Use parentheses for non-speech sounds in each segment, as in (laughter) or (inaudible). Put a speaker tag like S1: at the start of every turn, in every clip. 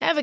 S1: Ever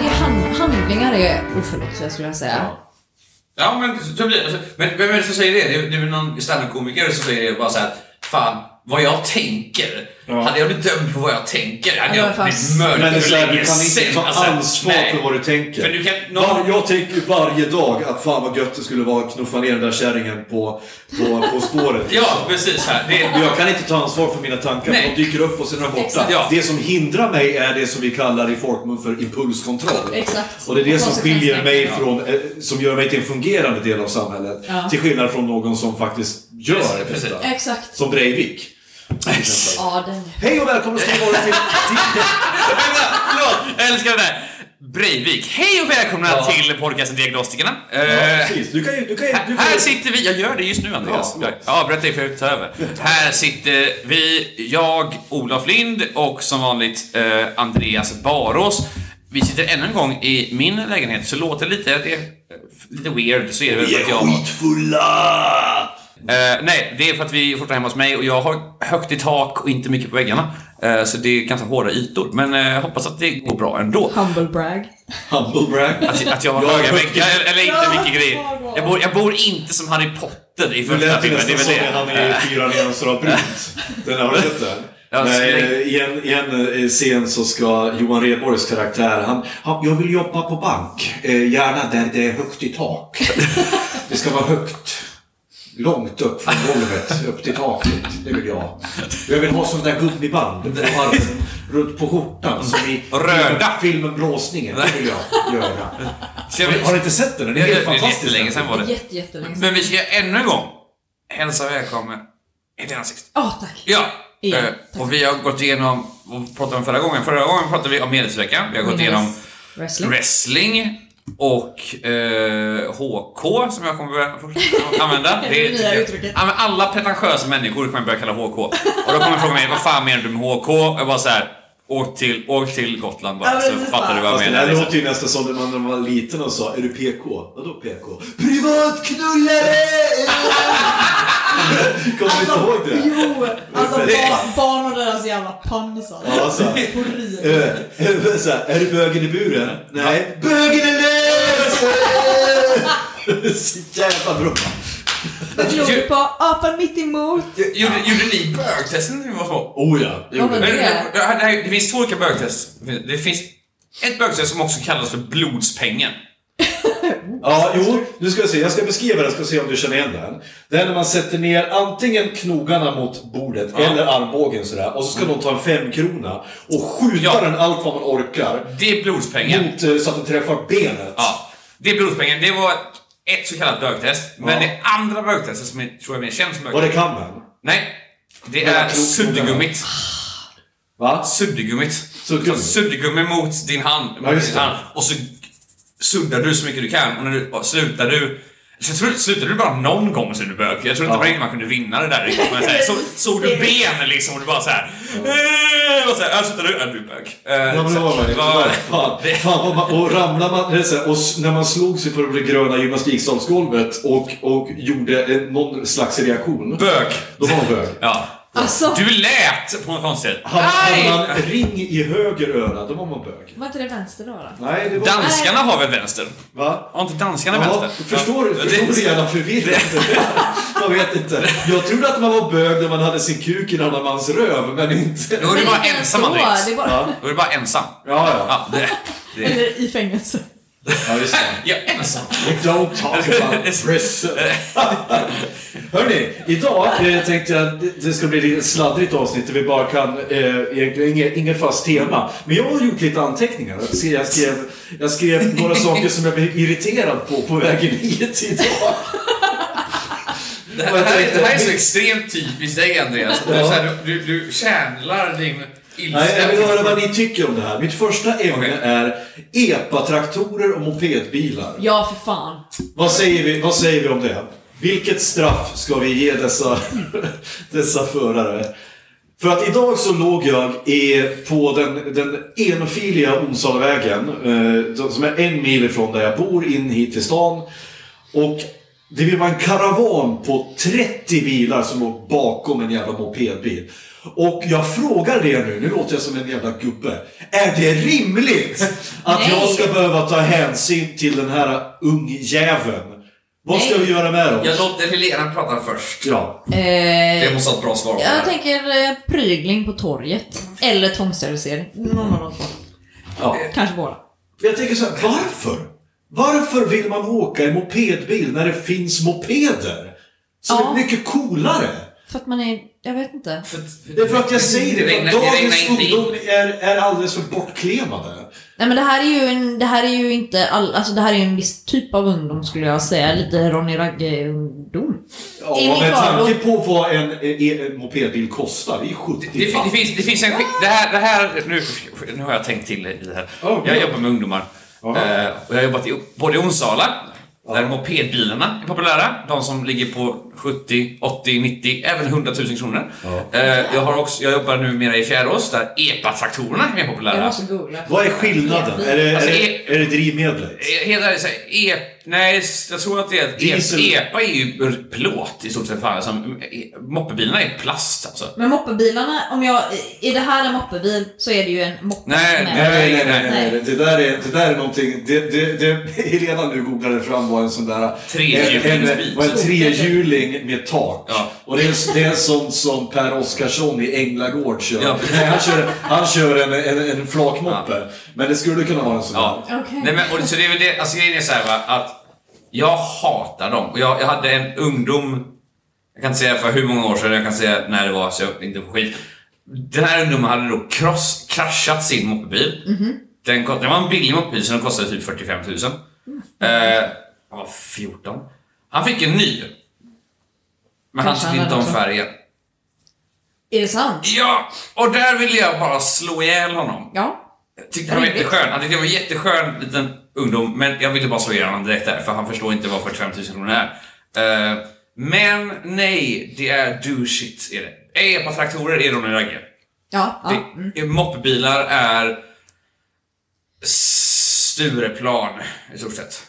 S2: Det är hand, handlingar är oförlåtliga skulle jag säga.
S3: Ja. Ja, men så blir det. Så- Men vem är det som säger det? Det är, det är väl någon standup-komiker som säger bara så här, Fan, vad jag tänker. Hade jag blivit dömd för vad jag tänker hade
S2: Ja,
S3: jag
S2: fast-
S3: blivit
S4: Men
S3: mördad
S4: det är
S3: för
S4: så här, du
S3: länge
S4: kan inte
S3: sedan.
S4: ta
S3: Alltså,
S4: ansvar
S3: nej.
S4: för vad du tänker.
S3: För du kan- någon-
S4: Var- Jag tänker ju varje dag att fan vad gött det skulle vara att knuffa ner den där kärringen på, på, på spåret.
S3: (laughs) Ja, precis. Här. Det
S4: Men
S3: är...
S4: jag kan inte ta ansvar för mina tankar,
S3: Nej.
S4: för de dyker upp och sen är de borta.
S2: Exakt.
S3: Ja.
S4: Det som hindrar mig är det som vi kallar i folkmun för impulskontroll.
S2: Exakt.
S4: Och det är det som skiljer mig
S2: Ja.
S4: från, eh, som gör mig till en fungerande del av samhället.
S2: Ja.
S4: Till skillnad från någon som faktiskt gör
S3: Precis,
S4: detta.
S3: precis.
S2: Exakt.
S4: Som Breivik.
S2: Ja, den.
S4: Hej och välkomna ska ni vara till...
S3: (laughs) (laughs)
S4: till-
S3: Vänta, Förlåt, jag älskar det där. Breivik. Hej och välkomna
S4: Ja.
S3: till podcasten Diagnostikerna. Eh,
S4: Ja, precis. Du kan ju... Du kan ju, du kan
S3: Här
S4: ju...
S3: sitter vi, jag gör det just nu Andreas.
S4: Ja.
S3: Ja, berätta ifall jag tar över. Här sitter vi, jag, Olof Lind och som vanligt eh, Andreas Barås. Vi sitter ännu en gång i min lägenhet, så låter det lite, det är lite weird, så är det väl
S4: Vi
S3: för
S4: är
S3: att jag
S4: skitfulla!
S3: Eh, nej, det är för att vi är fortfarande hemma hos mig och jag har högt i tak och inte mycket på väggarna. Eh, så det är ganska hårda ytor, men eh, jag hoppas att det går bra ändå.
S2: Humble brag.
S4: Humble brag.
S3: Att, att Alltså, jag har
S4: Jag har
S3: höga
S4: högt i-
S3: väggar, eller- eller inte
S2: Jag har
S3: mycket grejer.
S2: högt i-
S3: Jag bor, jag bor inte som Harry Potter i
S4: Det
S3: första
S4: lät ju
S3: filmen, alltså, det
S4: nästan
S3: är väl
S4: som
S3: det.
S4: när han är i Fyra nyanser av brunt. Den har du sett den?
S3: Ja,
S4: Nej,
S3: släng.
S4: I en, I en eh, scen så ska Johan Rheborgs karaktär, han, han jag vill jobba på bank. Eh, gärna där det är högt i tak. Det ska vara högt. Långt upp från golvet, upp till taket. Det vill jag. Jag vill ha sådana där gummiband på armen, runt på skjortan. Som i
S3: Röda.
S4: filmen Blåsningen. Det vill jag göra.
S3: Så jag
S4: Har,
S3: vill-
S4: har ni inte sett den? Den är
S3: Det
S4: helt
S3: är
S4: fantastisk.
S3: jättelänge sedan var det.
S2: Jätte, jättelänge sedan.
S3: Men vi ska ännu en gång hälsa välkommen Helena Sixten.
S2: Ja, tack.
S3: Ja!
S2: Ja,
S3: eh, Och vi har gått igenom, vad pratade om förra gången? Förra gången pratade vi om Medelsveckan. Vi har gått igenom
S2: Wrestling.
S3: wrestling och eh, HK som jag kommer börja fortsätta använda.
S2: (laughs) Det nya
S3: tycker jag-
S2: uttrycket.
S3: Ja, men alla pretentiösa människor kommer börja kalla HK. Och då kommer de fråga mig, vad fan menar du med HK? Och jag bara så här, åk till, åk till Gotland bara
S2: Ja,
S3: så
S2: precis,
S3: fattar du vad jag
S4: Fast Alltså, det
S3: menar.
S4: där
S3: Liksom.
S4: låter ju nästan som när man, när man var liten och sa Är du PK? Vadå PK? Privatknullare! (laughs) Kommer du inte ihåg det?
S2: Alltså, Jo! Alltså
S4: Det-
S2: barn, barn och deras jävla pansar.
S4: Ja, så.
S2: Horribelt.
S4: Eh, så här, är du bögen i buren? Nej. Bögen är lös! (laughs) Så jävla bra.
S2: Men Glor på apan mitt emot.
S3: Gjorde, gjorde ni bögtesten när ni var små?
S4: Oh ja. det
S2: Ja,
S4: gjorde
S2: men
S4: det.
S3: Men,
S2: det-
S3: det, det, här- det finns två olika bögtest. Det finns ett bögtest som också kallas för blodspengen.
S4: Ja, jo, nu Alltså, ska jag se. Jag ska beskriva den, ska se om du känner igen den. Det är när man sätter ner antingen knogarna mot bordet eller armbågen sådär. Och så ska någon ta en femkrona och skjuta
S3: Ja.
S4: den allt vad man orkar.
S3: Det är blodspengen.
S4: Mot, eh, så att den träffar benet.
S3: Ja, det är blodspengen. Det var ett så kallat bögtest. Men
S4: Ja.
S3: det andra bögtestet som jag tror jag är mer känt som
S4: Var
S3: bögtest.
S4: det kammen?
S3: Nej, det
S4: Mellan
S3: är
S4: kroknogarna.
S3: suddgummit.
S4: Va?
S3: Suddgummit.
S4: Suddgummi.
S3: Så Suddgummi Alltså, mot din hand.
S4: Ja,
S3: Mot
S4: just
S3: din
S4: det.
S3: hand. Och så suddar du så mycket du kan. Och när du och slutar du... Jag tror, slutar du bara någon gång så är du bög. Jag tror inte
S4: Ja.
S3: riktigt man kunde vinna det där riktigt. Men så här, så, såg du ben liksom och du bara såhär... Ja. Och så här, "Ja, slutar du? Ja, du är bög. Eh,
S4: Ja, men det
S3: så-
S4: var man ju.
S3: vad-
S4: Fan, fan vad man, och ramlar man, det är så här, och s- när man slog sig på det gröna gymnastiksalsgolvet och, och gjorde eh, någon slags reaktion.
S3: Bög.
S4: Då var man bög.
S3: Ja.
S2: Alltså,
S3: Du lät på något konstigt.
S4: Hade hade
S3: Aj!
S4: man ring i höger öra, då var man bög.
S2: var inte det vänster då? då?
S4: Nej, det var...
S3: Danskarna har väl vänster?
S4: Va?
S3: Har inte danskarna
S4: Ja,
S3: vänster?
S4: förstår du?
S3: Ja,
S4: Förstår du jävla förvirrande? Jag vet inte. Jag trodde att man var bög när man hade sin kuk i en annan mans röv, men inte...
S3: Då är du
S2: Men
S3: bara
S2: inte ens
S3: ensam
S2: då,
S3: Andreas.
S2: det är bara-
S4: Ja,
S3: Då är du bara ensam.
S4: ja. ja.
S3: Ja, det, det.
S2: Eller i fängelse.
S4: Ja, just det.
S3: Jag är ensam.
S4: We don't talk about prison. Hörni, idag eh, tänkte jag att det- det ska bli lite sladdrigt avsnitt där vi bara kan, eh, egentligen inget, inget fast tema. Men jag har gjort lite anteckningar. Jag skrev, jag skrev, jag skrev några saker som jag blev irriterad på på vägen hit idag.
S3: Det här, det här, det här är så extremt typiskt dig, Andreas. Du,
S4: Ja.
S3: så här, du, du, du kärnlar din ilska.
S4: Nej, jag vill höra vad ni tycker om det här. Mitt första ämne
S3: Okej.
S4: är epatraktorer och mopedbilar.
S2: Ja, för fan.
S4: Vad säger, vi, vad säger vi om det? Vilket straff ska vi ge dessa, (laughs) dessa förare? För att idag så låg jag i, på den, den enfiliga Onsalavägen, eh, som- som är en mil ifrån där jag bor, in hit till stan. Och det var en karavan på 30 bilar som låg bakom en jävla mopedbil. Och jag frågar er nu, nu låter jag som en jävla gubbe. Är det rimligt att jag
S2: Nej.
S4: ska behöva ta hänsyn till den här ungjäveln? Vad ska
S2: Nej.
S4: vi göra med dem?
S3: Jag låter Helena prata först.
S4: Ja.
S3: Det
S2: Eh,
S3: måste ha ett bra svar på det
S2: jag
S3: här.
S2: tänker eh, prygling på torget. Eller tvångssterilisering. Någon av de två.
S4: ja.
S2: Kanske båda.
S4: Jag tänker så här, varför? Varför vill man åka i mopedbil när det finns mopeder? Så
S2: Ja.
S4: det är mycket coolare.
S2: För att man är... Jag vet inte.
S4: Det är för att jag säger det, för
S3: regnar-
S4: att
S3: regnar
S4: dagens
S3: inte in.
S4: ungdom är, är alldeles för bortklevade.
S2: Nej men det här är ju, en, det här är ju inte all, alltså det här är ju en viss typ av ungdom skulle jag säga. Lite Ronny Ragge-ungdom.
S4: Ja,
S2: Det är min
S4: med
S2: fördom.
S4: tanke på vad en, en, en mopedbil kostar, det är 70
S3: Det, fin- det, finns, det finns en skick... Det här... Det här nu, nu har jag tänkt till i det här.
S4: Ja, Oh, bra.
S3: jag jobbar med ungdomar.
S4: Jaha.
S3: Eh, och jag har jobbat i, både i Onsala, där mopedbilarna är populära. De som ligger på 70, 80, 90, även 100 000 kronor. Eh, jag, har också, jag jobbar numera i Fjärås, där epatraktorerna är mer
S2: Jag
S3: populära.
S2: måste googla.
S4: Vad är skillnaden? Är det,
S3: Alltså,
S4: är
S3: e-
S4: det, är det drivmedlet?
S3: Eh, Helt ärligt, så här, e, nej, jag tror att det är...
S4: Diesel.
S3: E, epa är ju plåt i stort sett. Fan, som, e, moppebilarna är plast alltså.
S2: Men moppebilarna, om jag... Är det här en moppebil så är det ju en moppe.
S3: Nej,
S2: med.
S4: Nej, nej, nej,
S3: nej,
S4: nej, nej. Det, där är, det där är någonting... Det, det, det, (laughs) Helena nu googlade fram var en sån där...
S3: Trehjulingsbil.
S4: en- en- var en trehjuling med tak.
S3: Ja.
S4: Och det är, en- det är en sån som Per Oskarsson i Änglagård kör.
S3: Ja.
S4: Nej, han kör, han kör en, en, en flakmoppe. Men det skulle kunna vara en sån
S3: Ja.
S4: där.
S2: Okej.
S3: Nej, men, och, så det är väl det, alltså grejen är så här, va, att jag hatar dem. Och jag, jag hade en ungdom, jag kan inte säga för hur många år sedan, jag kan säga när det var så jag inte får skit. Den här ungdomen hade då kross, kraschat sin moppebil.
S2: Mhm.
S3: Den, kost- det var en billig moppebil så den kostade typ 45 000. Eh, han var 14. Han fick en ny. Men han
S2: Kanske
S3: tyckte
S2: han
S3: inte om
S2: hade också.
S3: färgen.
S2: Är det sant?
S3: Ja, och där ville jag bara slå ihjäl honom.
S2: Ja.
S3: Tyckte han var jätteskön. Han tyckte jag var en jätteskön liten ungdom, men jag ville bara slå ihjäl honom direkt där, för han förstår inte vad 45 000 kronor är. Eh, men nej, det är do shit är det. Epatraktorer är Ronny Ragge.
S2: Ja. ja.
S3: Det- Moppebilar är Stureplan, i stort sett.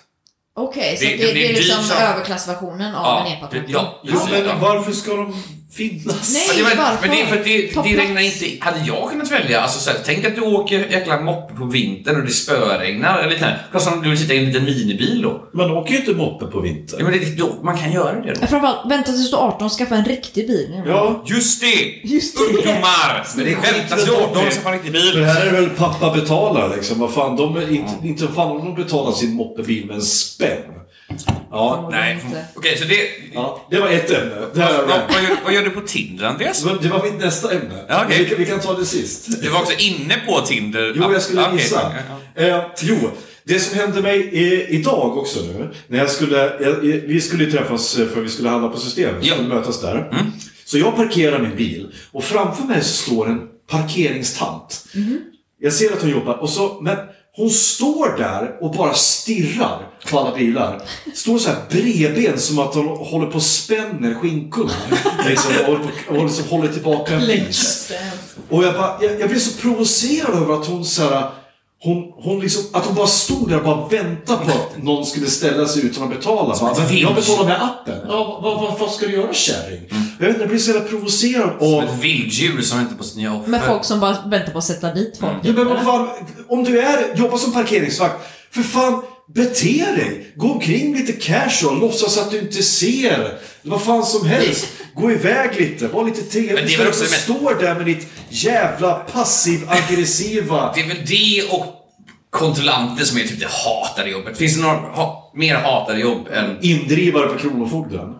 S2: Okej, så
S3: det-
S2: det,
S3: det
S2: det,
S3: blir
S2: är liksom
S3: dyrt, ja.
S2: överklassversionen av en
S3: det,
S2: epatraktor.
S3: ja,
S4: Ja,
S3: precis, ja.
S4: men varför ska de finnas?
S2: Nej.
S3: Ja, det var, men det är för att det,
S2: Varför?
S3: det regnar inte. Hade jag kunnat välja, alltså så här, tänk att du åker jäkla moppe på vintern och det spöregnar eller liknande. Kostar om du vill sitta i en liten minibil då.
S4: Man åker ju inte moppe på
S3: Ja,
S4: vintern.
S3: men det, då, man kan göra det då.
S2: Men Framförallt, vänta tills du är 18 och skaffa en riktig bil.
S4: Ja.
S3: Just det!
S2: Just det.
S3: Ungdomar! Men det
S4: skit
S3: väntas
S4: med
S3: ju 18
S4: dem.
S3: ska fan inte
S4: För
S3: bil.
S4: här är väl pappa betalar liksom. Vad fan, de är inte, inte fan om de betalar sin moppebil med en spänn. Ja.
S3: Nej.
S2: Inte.
S3: Okej, så det...
S4: ja, det var ett ämne. Det har jag
S3: Vad,
S4: rant.
S3: vad, gör, vad gör du på Tinder, Andreas?
S4: Men Det var mitt nästa ämne.
S3: Ja, okej.
S4: vi, kan, vi kan ta det sist.
S3: Du var också inne på Tinder.
S4: Jo, jag skulle
S3: Okej,
S4: gissa.
S3: ja,
S4: Eh, jo, det som hände mig eh, idag också nu, när jag skulle, eh, vi skulle ju träffas eh, för vi skulle handla på systemet, vi
S3: Ja. Mm.
S4: skulle mötas där. Så jag parkerar min bil och framför mig så står en parkeringsstant. Jag ser att hon jobbar, och så, men hon står där och bara stirrar på alla bilar. Står så här bredben som att hon håller på och spänner (laughs) skinkorna. Liksom, och håller, på, och liksom håller tillbaka en fis. Och jag, bara, jag, jag blev så provocerad över att hon så här, hon, hon liksom, att hon bara stod där och bara väntade på att någon skulle ställa sig utan att betala. Bara, "Men jag betalar med appen. Ja, vad, vad, vad ska du göra kärring? Jag vet inte, jag blev så jävla provocerad
S3: ja.
S4: av...
S3: Ett vilddjur som inte på sina offer.
S2: Med folk som bara väntar på att sätta dit folk.
S3: Mm.
S4: Ja, men vad fan, om du är, jobbar som parkeringsvakt, för fan, bete dig! Gå omkring lite casual, låtsas att du inte ser. Vad fan som helst. Gå iväg lite, var lite
S3: Men det
S4: trevlig.
S3: är väl
S4: Istället för att
S3: också
S4: stå där med ditt jävla passiv-aggressiva
S3: Det är väl det och kontrollanter som är typ det hatade jobbet. Finns det några ha, mer hatade jobb än...
S4: Mm. Indrivare på Kronofogden.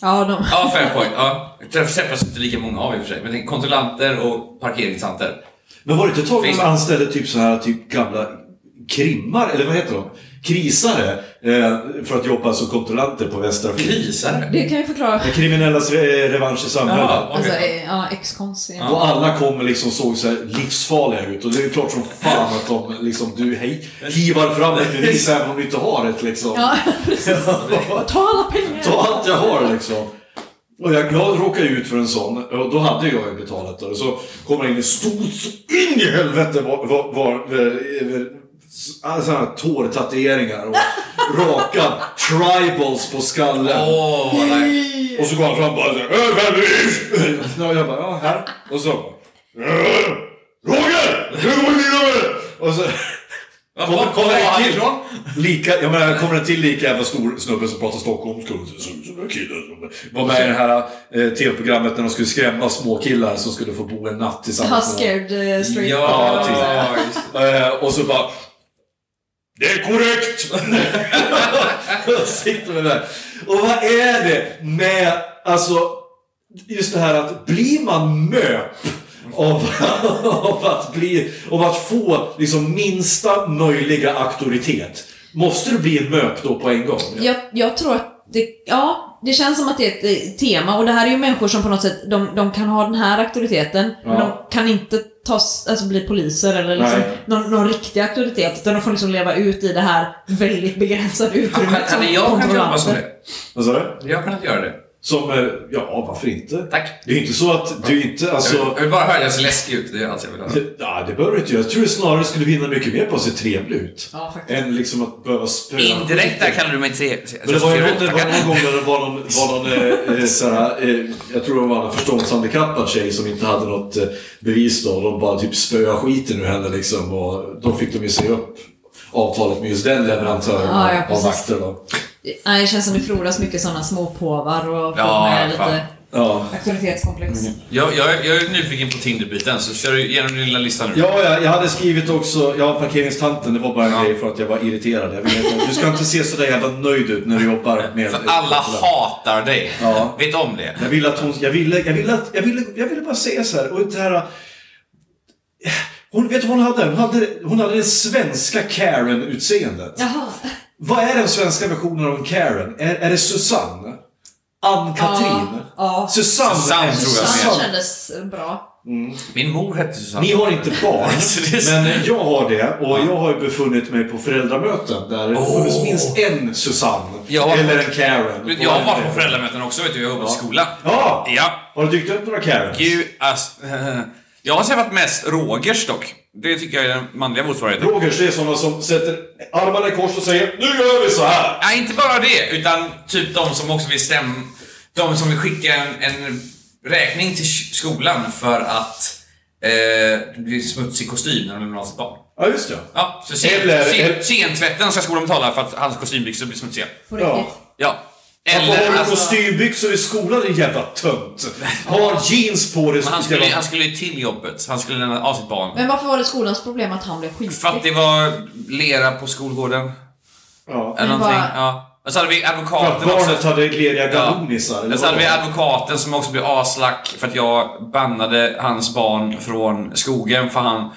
S2: Ja, de...
S3: Ja, fair point. Ja. Jag träffas inte lika många av i och för sig. Men det är kontrollanter och parkeringshanter.
S4: Men var det inte ett tag
S3: Finns
S4: de
S3: det?
S4: anställde typ så här typ gamla krimmar, eller vad heter de? Krisare, eh, för att jobba som kontrollanter på Västra Fri.
S3: Krisare?
S2: Det kan ju förklara.
S4: Den kriminellas re- revansch i samhället.
S3: Ja,
S2: Alltså,
S3: okej.
S2: eh, ja, ex-konst. Ja.
S4: Och alla kom liksom såg så här livsfarliga ut och det är ju klart som fan att de liksom, du hej, hivar fram ett bevis även om du inte har ett liksom.
S2: Ja, (laughs) precis. Ta alla pengar!
S4: Ta allt jag har liksom. Och jag, jag råkade ju ut för en sån och då hade jag ju betalat det. Och så kommer det in en stor, så in i helvete var, var, var, alla sådana här tårtatueringar och (laughs) raka tribals på skallen.
S2: eh,
S3: Åh, vad nice.
S4: Och så går han fram och bara så här, "Äh, Benny!" Ja, jag bara, ja här. Och så bara, "Äh, Roger! Nu kommer vi vidare med det!" Och så
S3: Vad
S4: kommer,
S3: var-
S4: kommer
S3: var
S4: en
S3: han
S4: till.
S3: ifrån?
S4: Lika, jag menar, kommer en till lika jävla stor snubbe som pratar stockholmska och ser ut som en kille. som Var med i det här eh, tv-programmet när de skulle skrämma små killar som skulle få bo en natt
S2: Ha
S4: tillsammans. med
S2: scared eh, straight.
S3: Ja,
S4: typ.
S3: just det.
S4: någon. Eh, och så bara, det är korrekt! (laughs) Och Sitter med det där. Och vad är det med, alltså, just det här att blir man möp av, (laughs) av, att, bli, av att få liksom minsta möjliga auktoritet. Måste du bli en möp då på en gång?
S3: typ.
S2: Jag, jag tror att det, ja, det känns som att det är ett eh, tema och det här är ju människor som på något sätt, de, de kan ha den här auktoriteten, men de
S4: Ja.
S2: kan inte ta, s- alltså bli poliser eller liksom
S4: Nej.
S2: någon, någon riktig auktoritet, utan de får liksom leva ut i det här väldigt begränsade utrymmet som
S3: Hade jag kunnat jobba som
S2: kontrollanter.
S3: det?
S4: Vad sa du?
S3: Hade jag kunnat göra det?
S4: Som, eh, ja varför inte?
S3: Tack.
S4: Det är ju inte så att du inte,
S3: Jag vill-
S4: alltså...
S3: Jag vill bara höra jag ser läskig ut. Det är allt jag vill höra.
S4: Ja, det behöver du inte göra. Jag tror du snarare skulle vinna mycket mer på att se trevlig ut.
S2: Ja, faktiskt.
S4: Än liksom att behöva spöa.
S3: Indirekt där kallar du mig tre...
S4: Men det var ju någon, det var någon gång när det var någon, var någon eh, eh, såhär, eh, jag tror det var en förståndshandikappad tjej som inte hade något eh, bevis då. De bara typ spöade skiten ur henne liksom. Och då fick de ju se upp avtalet med just den leverantören
S2: Ja, ja,
S4: av- av
S2: precis.
S4: vakter då.
S2: Nej, det känns som det frodas mycket sådana småpåvar och folk
S3: Ja,
S2: med
S3: fan. Mm.
S2: lite
S4: Ja.
S2: auktoritetskomplex.
S3: Jag, jag, jag är nyfiken på Tinderbiten, så kör du igenom din lilla lista nu.
S4: Ja, jag, jag hade skrivit också, ja parkeringstanten, det var bara en grej för att jag var irriterad. Jag vet inte, du ska inte se sådär jävla nöjd ut när du jobbar med...
S3: För alla hatar dig.
S4: Ja.
S3: Vet om det.
S4: Jag ville att hon, jag ville, jag ville, att, jag ville, jag ville bara säga så här. Och det här hon, vet du vad hon hade? Hon hade, hon hade det svenska Karen-utseendet.
S2: Jaha.
S4: Vad är den svenska versionen av en Karen? Är, är det Susanne? Ann-Katrin?
S2: Ja.
S4: Susanne,
S3: Susanne tror jag
S2: Susanne
S4: Susanne.
S2: kändes bra.
S3: Min mor hette Susanne.
S4: Ni har inte
S3: (laughs)
S4: barn,
S3: Så det är-
S4: men jag har det. Och jag har ju befunnit mig på föräldramöten där det funnits minst en Susanne.
S3: Jag har-
S4: eller en Karen.
S3: Du vet, Jag har varit på föräldramöten också, vet du. Jag har jobbat i skola.
S4: Ja!
S3: Ja.
S4: Har det dykt upp några Karens?
S3: Gud, ass... (laughs) Jag har träffat mest Rogers dock. Det tycker jag är den manliga motsvarigheten.
S4: Rogers, det är sådana som sätter armarna i kors och säger Nu gör vi så här!
S3: Nej, inte bara det, utan typ de som också vill stämma... De som vill skicka en, en räkning till sk- skolan för att eh, det blir smutsig kostym när de lämnar av sitt barn.
S4: Ja, just det.
S3: Ja, så sen,
S4: Eller-
S3: sen,
S4: eller-
S3: sentvätten ska skolan betala för att hans kostymbyxor blir smutsiga.
S2: På
S4: Ja.
S2: riktigt.
S3: Ja.
S4: Varför har
S3: Eller...
S4: du
S3: Alltså,
S4: kostymbyxor i skolan din jävla tönt? Har jeans på dig
S3: men han
S4: som
S3: skulle, han
S4: jävla...
S3: skulle ju till jobbet. Han skulle lämna av sitt barn.
S2: Men varför var det skolans problem att han blev
S3: För att
S2: skitig?
S3: det var lera på skolgården.
S4: Ja.
S3: Eller
S2: Men
S3: någonting.
S2: bara-
S3: Ja. Och så hade vi
S4: För att
S3: advokaten också.
S4: barnet hade gleriga gallonisar. eller
S3: Och så hade
S4: vad
S3: vi
S4: var det?
S3: advokaten som också blev aslack för att jag bannade hans barn från skogen för han...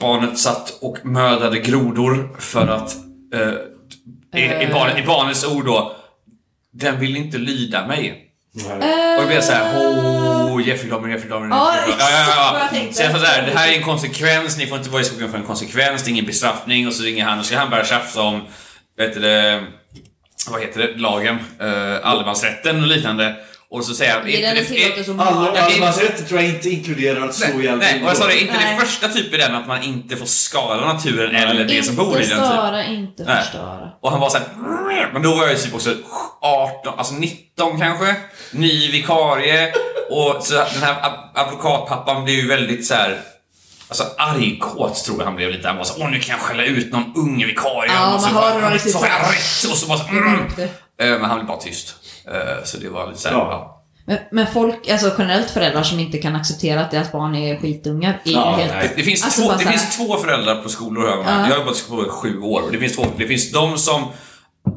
S3: Barnet satt och mördade grodor för att... Eh, i, i, barn, I barnets ord då. Den vill inte lyda mig.
S4: Nej.
S3: Och då blir jag såhär, oh, Jeffrey Dahmer, Jeffrey Dahmer.
S2: Ja,
S3: Jeffrey
S2: exakt vad
S3: Dahmer."
S2: jag
S3: Så
S2: tänkte.
S3: jag sa såhär, det här är en konsekvens, ni får inte vara i skogen för en konsekvens, det är ingen bestraffning. Och så ringer han och så ska han börja tjafsa om, vet du det, vad heter det, lagen, eh, allemansrätten och liknande. Och så säger han,
S2: Ge den
S3: "Inte
S2: en
S3: det-
S2: tillåtelse att
S4: Alla
S2: mörda.
S3: Jag kan-
S4: allemansrätter tror jag inte inkluderar att slå
S3: Nej,
S4: ihjäl
S3: nej, och jag sa det, inte
S2: Nej.
S3: det första typ i den att man inte får skada naturen eller det som bor
S2: Inte
S3: i den. Typ.
S2: störa, inte
S3: Nej.
S2: förstöra.
S3: Och han var såhär... Men då var jag ju typ också 18, alltså 19 kanske. Ny vikarie. Och så den här ad- advokatpappan blev ju väldigt så här. Alltså argkåt tror jag han blev lite. Han var så här, åh nu kan jag skälla ut någon ung vikarie.
S2: Ja,
S3: och så
S2: man
S3: bara,
S2: hör hur han riktigt
S3: Så har jag
S2: så-
S3: rätt! Och så bara så,
S2: Det
S3: mm.
S2: var inte-
S3: Eh, Men han blev bara tyst. Eh, Så det var lite såhär,
S4: Ja.
S3: ja.
S2: Men, men folk, alltså generellt föräldrar som inte kan acceptera att deras barn är skitungar är
S4: Ja,
S2: ju helt...
S3: Det, det, finns,
S2: Alltså,
S3: två,
S2: bara
S3: det
S2: så här-
S3: finns två föräldrar på skolor hör man. Jag har jobbat på skolor i sju år och det finns två. Det finns de som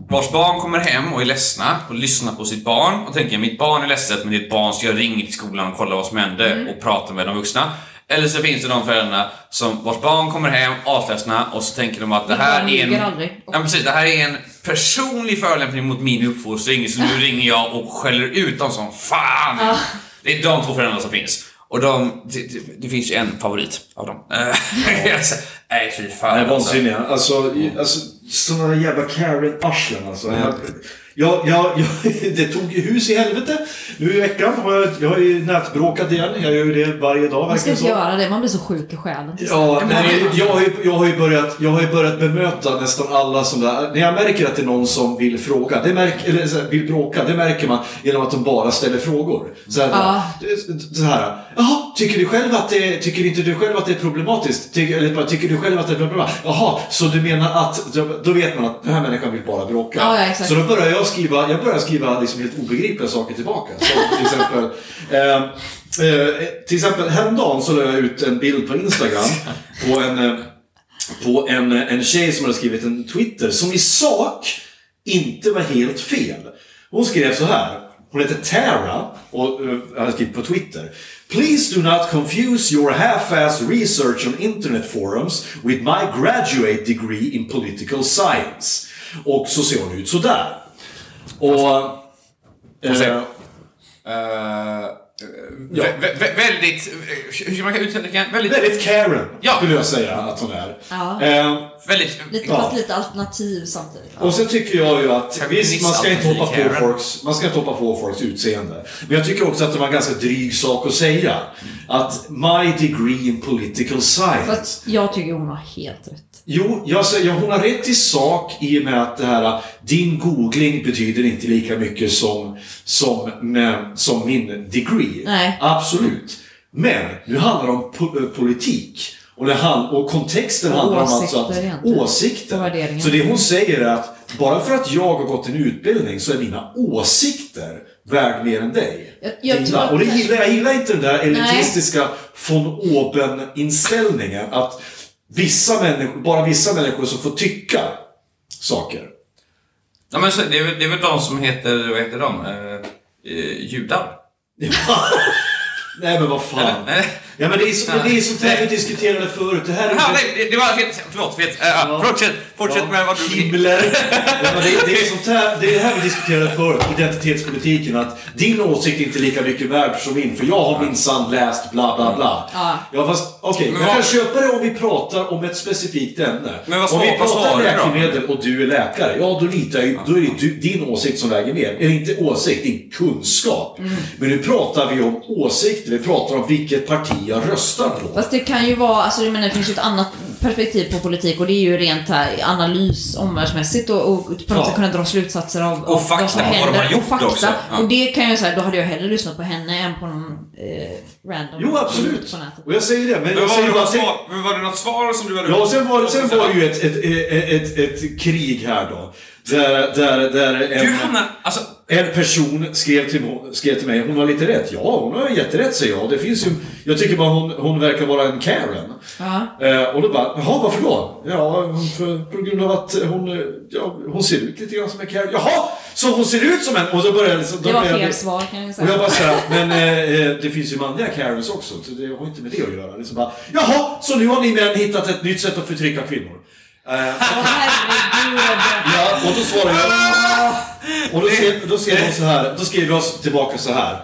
S3: vars barn kommer hem och är ledsna och lyssnar på sitt barn och tänker mitt barn är ledset men ditt barn ska jag ringa till skolan och kolla vad som hände
S2: Mm.
S3: och prata med de vuxna. Eller så finns det de föräldrarna som vars barn kommer hem asledsna och så tänker de att det
S2: Mitt
S3: här
S2: barn
S3: är en...
S2: ljuger aldrig.
S3: Ja, precis, det här är en personlig förolämpning mot min uppfostring så nu ringer jag och skäller ut dem som fan. Det är de två föräldrarna som finns. Och de, det, det- det finns ju en favorit av dem. (laughs) Eh, alltså, Nej, fy fan.
S4: Nej,
S3: alltså.
S4: vansinniga. Alltså, i- alltså sådana jävla Karen-arslen alltså. Jag, jag, jag, jag, (laughs) det tog ju hus i helvete. Nu i veckan har jag, jag har ju nätbråkat igen. Jag gör ju det varje dag.
S2: Man ska
S4: verkligen
S2: inte
S4: så.
S2: göra det, man blir så sjuk i själen.
S4: Ja, nej, jag, har ju, jag, har ju börjat, jag har ju börjat bemöta nästan alla som där. När jag märker att det är någon som vill fråga, det märk, eller så här, vill bråka, det märker man genom att de bara ställer frågor. Så här,
S2: Ja.
S4: det- så här jaha, tycker du själv att det, tycker inte du själv att det är problematiskt? Ty, eller bara, tycker du själv att det är problematiskt? Jaha, så du menar att, då- då vet man att den här människan vill bara bråka.
S2: Ja, ja, exakt.
S4: Så då börjar jag skriva, jag börjar skriva liksom helt obegripliga saker tillbaka. Som till exempel, (laughs) eh, eh, till exempel häromdagen så la jag ut en bild på Instagram på en, eh, på en, eh, en tjej som hade skrivit en Twitter som i sak inte var helt fel. Hon skrev så här. Hon heter Tara och eh, hade skrivit på Twitter. Please do not confuse your half-ass research on internet forums with my graduate degree in political science. Och så ser hon ut sådär. Och...
S3: Får se.
S4: eh,
S3: Eh, vä- vä- vä- väldigt... eh, Hur ska man uttrycka Väldigt...
S4: väldigt Karen,
S3: Ja.
S4: skulle jag säga att hon är.
S2: Ja.
S4: Eh,
S3: väldigt
S2: Lite,
S4: Ja.
S2: Fast lite alternativ samtidigt.
S4: Och sen tycker jag ju att, visst man ska inte hoppa på
S3: Karen.
S4: folks, man ska inte hoppa på folks utseende. Men jag tycker också att det var en ganska dryg sak att säga. Att my degree in political science.
S2: Fast jag tycker hon har helt rätt.
S4: Jo, jag säger, hon har rätt i sak i och med att det här, din googling betyder inte lika mycket som, som, men, som min degree.
S2: Nej.
S4: Absolut. Men nu handlar det om po- eh, politik. Och, det hand, och kontexten
S2: Och
S4: handlar om alltså
S2: åsikter
S4: att,
S2: egentligen. Och
S4: åsikter.
S2: värderingar.
S4: Så det hon säger är att bara för att jag har gått en utbildning så är mina åsikter värd mer än dig.
S2: Jag- jag
S4: Gilla.
S2: tror att-
S4: och det gillar, jag gillar inte den där elitistiska von oben-inställningen att vissa människor, bara vissa människor som får tycka saker.
S3: Ja, men så, det, är, väl- det är väl de som heter... Vad heter de? Eh, eh, judar?
S4: (laughs) Nej men vad fan.
S3: Eller? (laughs) Nej.
S4: Ja men det är, så, men det är sånt här vi diskuterade förut. Det här är
S3: Ja, nej, det- det var fel. Förlåt, fel. Eh, ja,
S4: Ja.
S3: Fortsätt, fortsätt med vad du...
S4: Himmler.
S3: (laughs)
S4: Ja, men det, det, är sånt här, det är det här vi diskuterade förut, identitetspolitiken. Att din åsikt är inte lika mycket värd som min, för jag har minsann läst bla bla bla.
S2: Ja.
S4: Ja, fast okej,
S3: Men
S4: jag
S3: vad-
S4: kan köpa det om vi pratar om ett specifikt ämne.
S3: Men vad
S4: om
S3: svar-
S4: vi
S3: vad
S4: pratar
S3: svarar du då?
S4: läkemedel och du är läkare, ja då litar jag ju- då är det du, din åsikt som väger mer. Eller inte åsikt, din kunskap.
S3: Mm.
S4: Men nu pratar vi om åsikter, vi pratar om vilket parti jag röstar på.
S2: Fast det kan ju vara, alltså jag menar det finns ju ett annat perspektiv på politik och det är ju rent här analys omvärldsmässigt och, och på något
S4: Ja.
S2: sätt kunna dra slutsatser av, av
S3: fakta,
S2: vad som
S3: vad de har
S2: händer.
S3: gjort
S2: och fakta.
S3: också. Ja.
S2: Och det kan jag säga, då hade jag hellre lyssnat på henne än på någon eh, random
S4: Jo, absolut.
S2: på nätet.
S4: Och jag säger det, men,
S3: Men
S4: jag
S3: var,
S4: säger
S3: det
S4: bara...
S3: något svar, men var det något svar som du hade...
S4: Ja, och sen var, sen var det ju ett, ett, ett, ett, ett krig här då. Där, där, där
S3: Du
S4: en,
S3: hamnar... Alltså,
S4: en person skrev till, skrev till mig, hon har lite rätt. Ja, hon har jätterätt säger jag. Det finns ju, jag tycker bara hon, hon verkar vara en Karen.
S2: Ja.
S4: Eh, och då bara, jaha varför då? Ja, hon- för, på grund av att hon, eh, ja, hon ser ut lite grann som en Karen. Jaha, så hon ser ut som en? Och så började jag liksom, då
S2: Det var
S4: började jag-
S2: fel svar kan jag
S4: och jag
S2: säga.
S4: bara såhär, men eh, eh, det finns ju manliga Karens också, så det har inte med det att göra. Liksom bara, Jaha, så nu har ni män hittat ett nytt sätt att förtrycka kvinnor. Eh,
S2: Åh, herregud.
S4: (laughs) ja, och då svarar jag... Och då skrev, då skrev hon så här, då skrev jag tillbaka så här.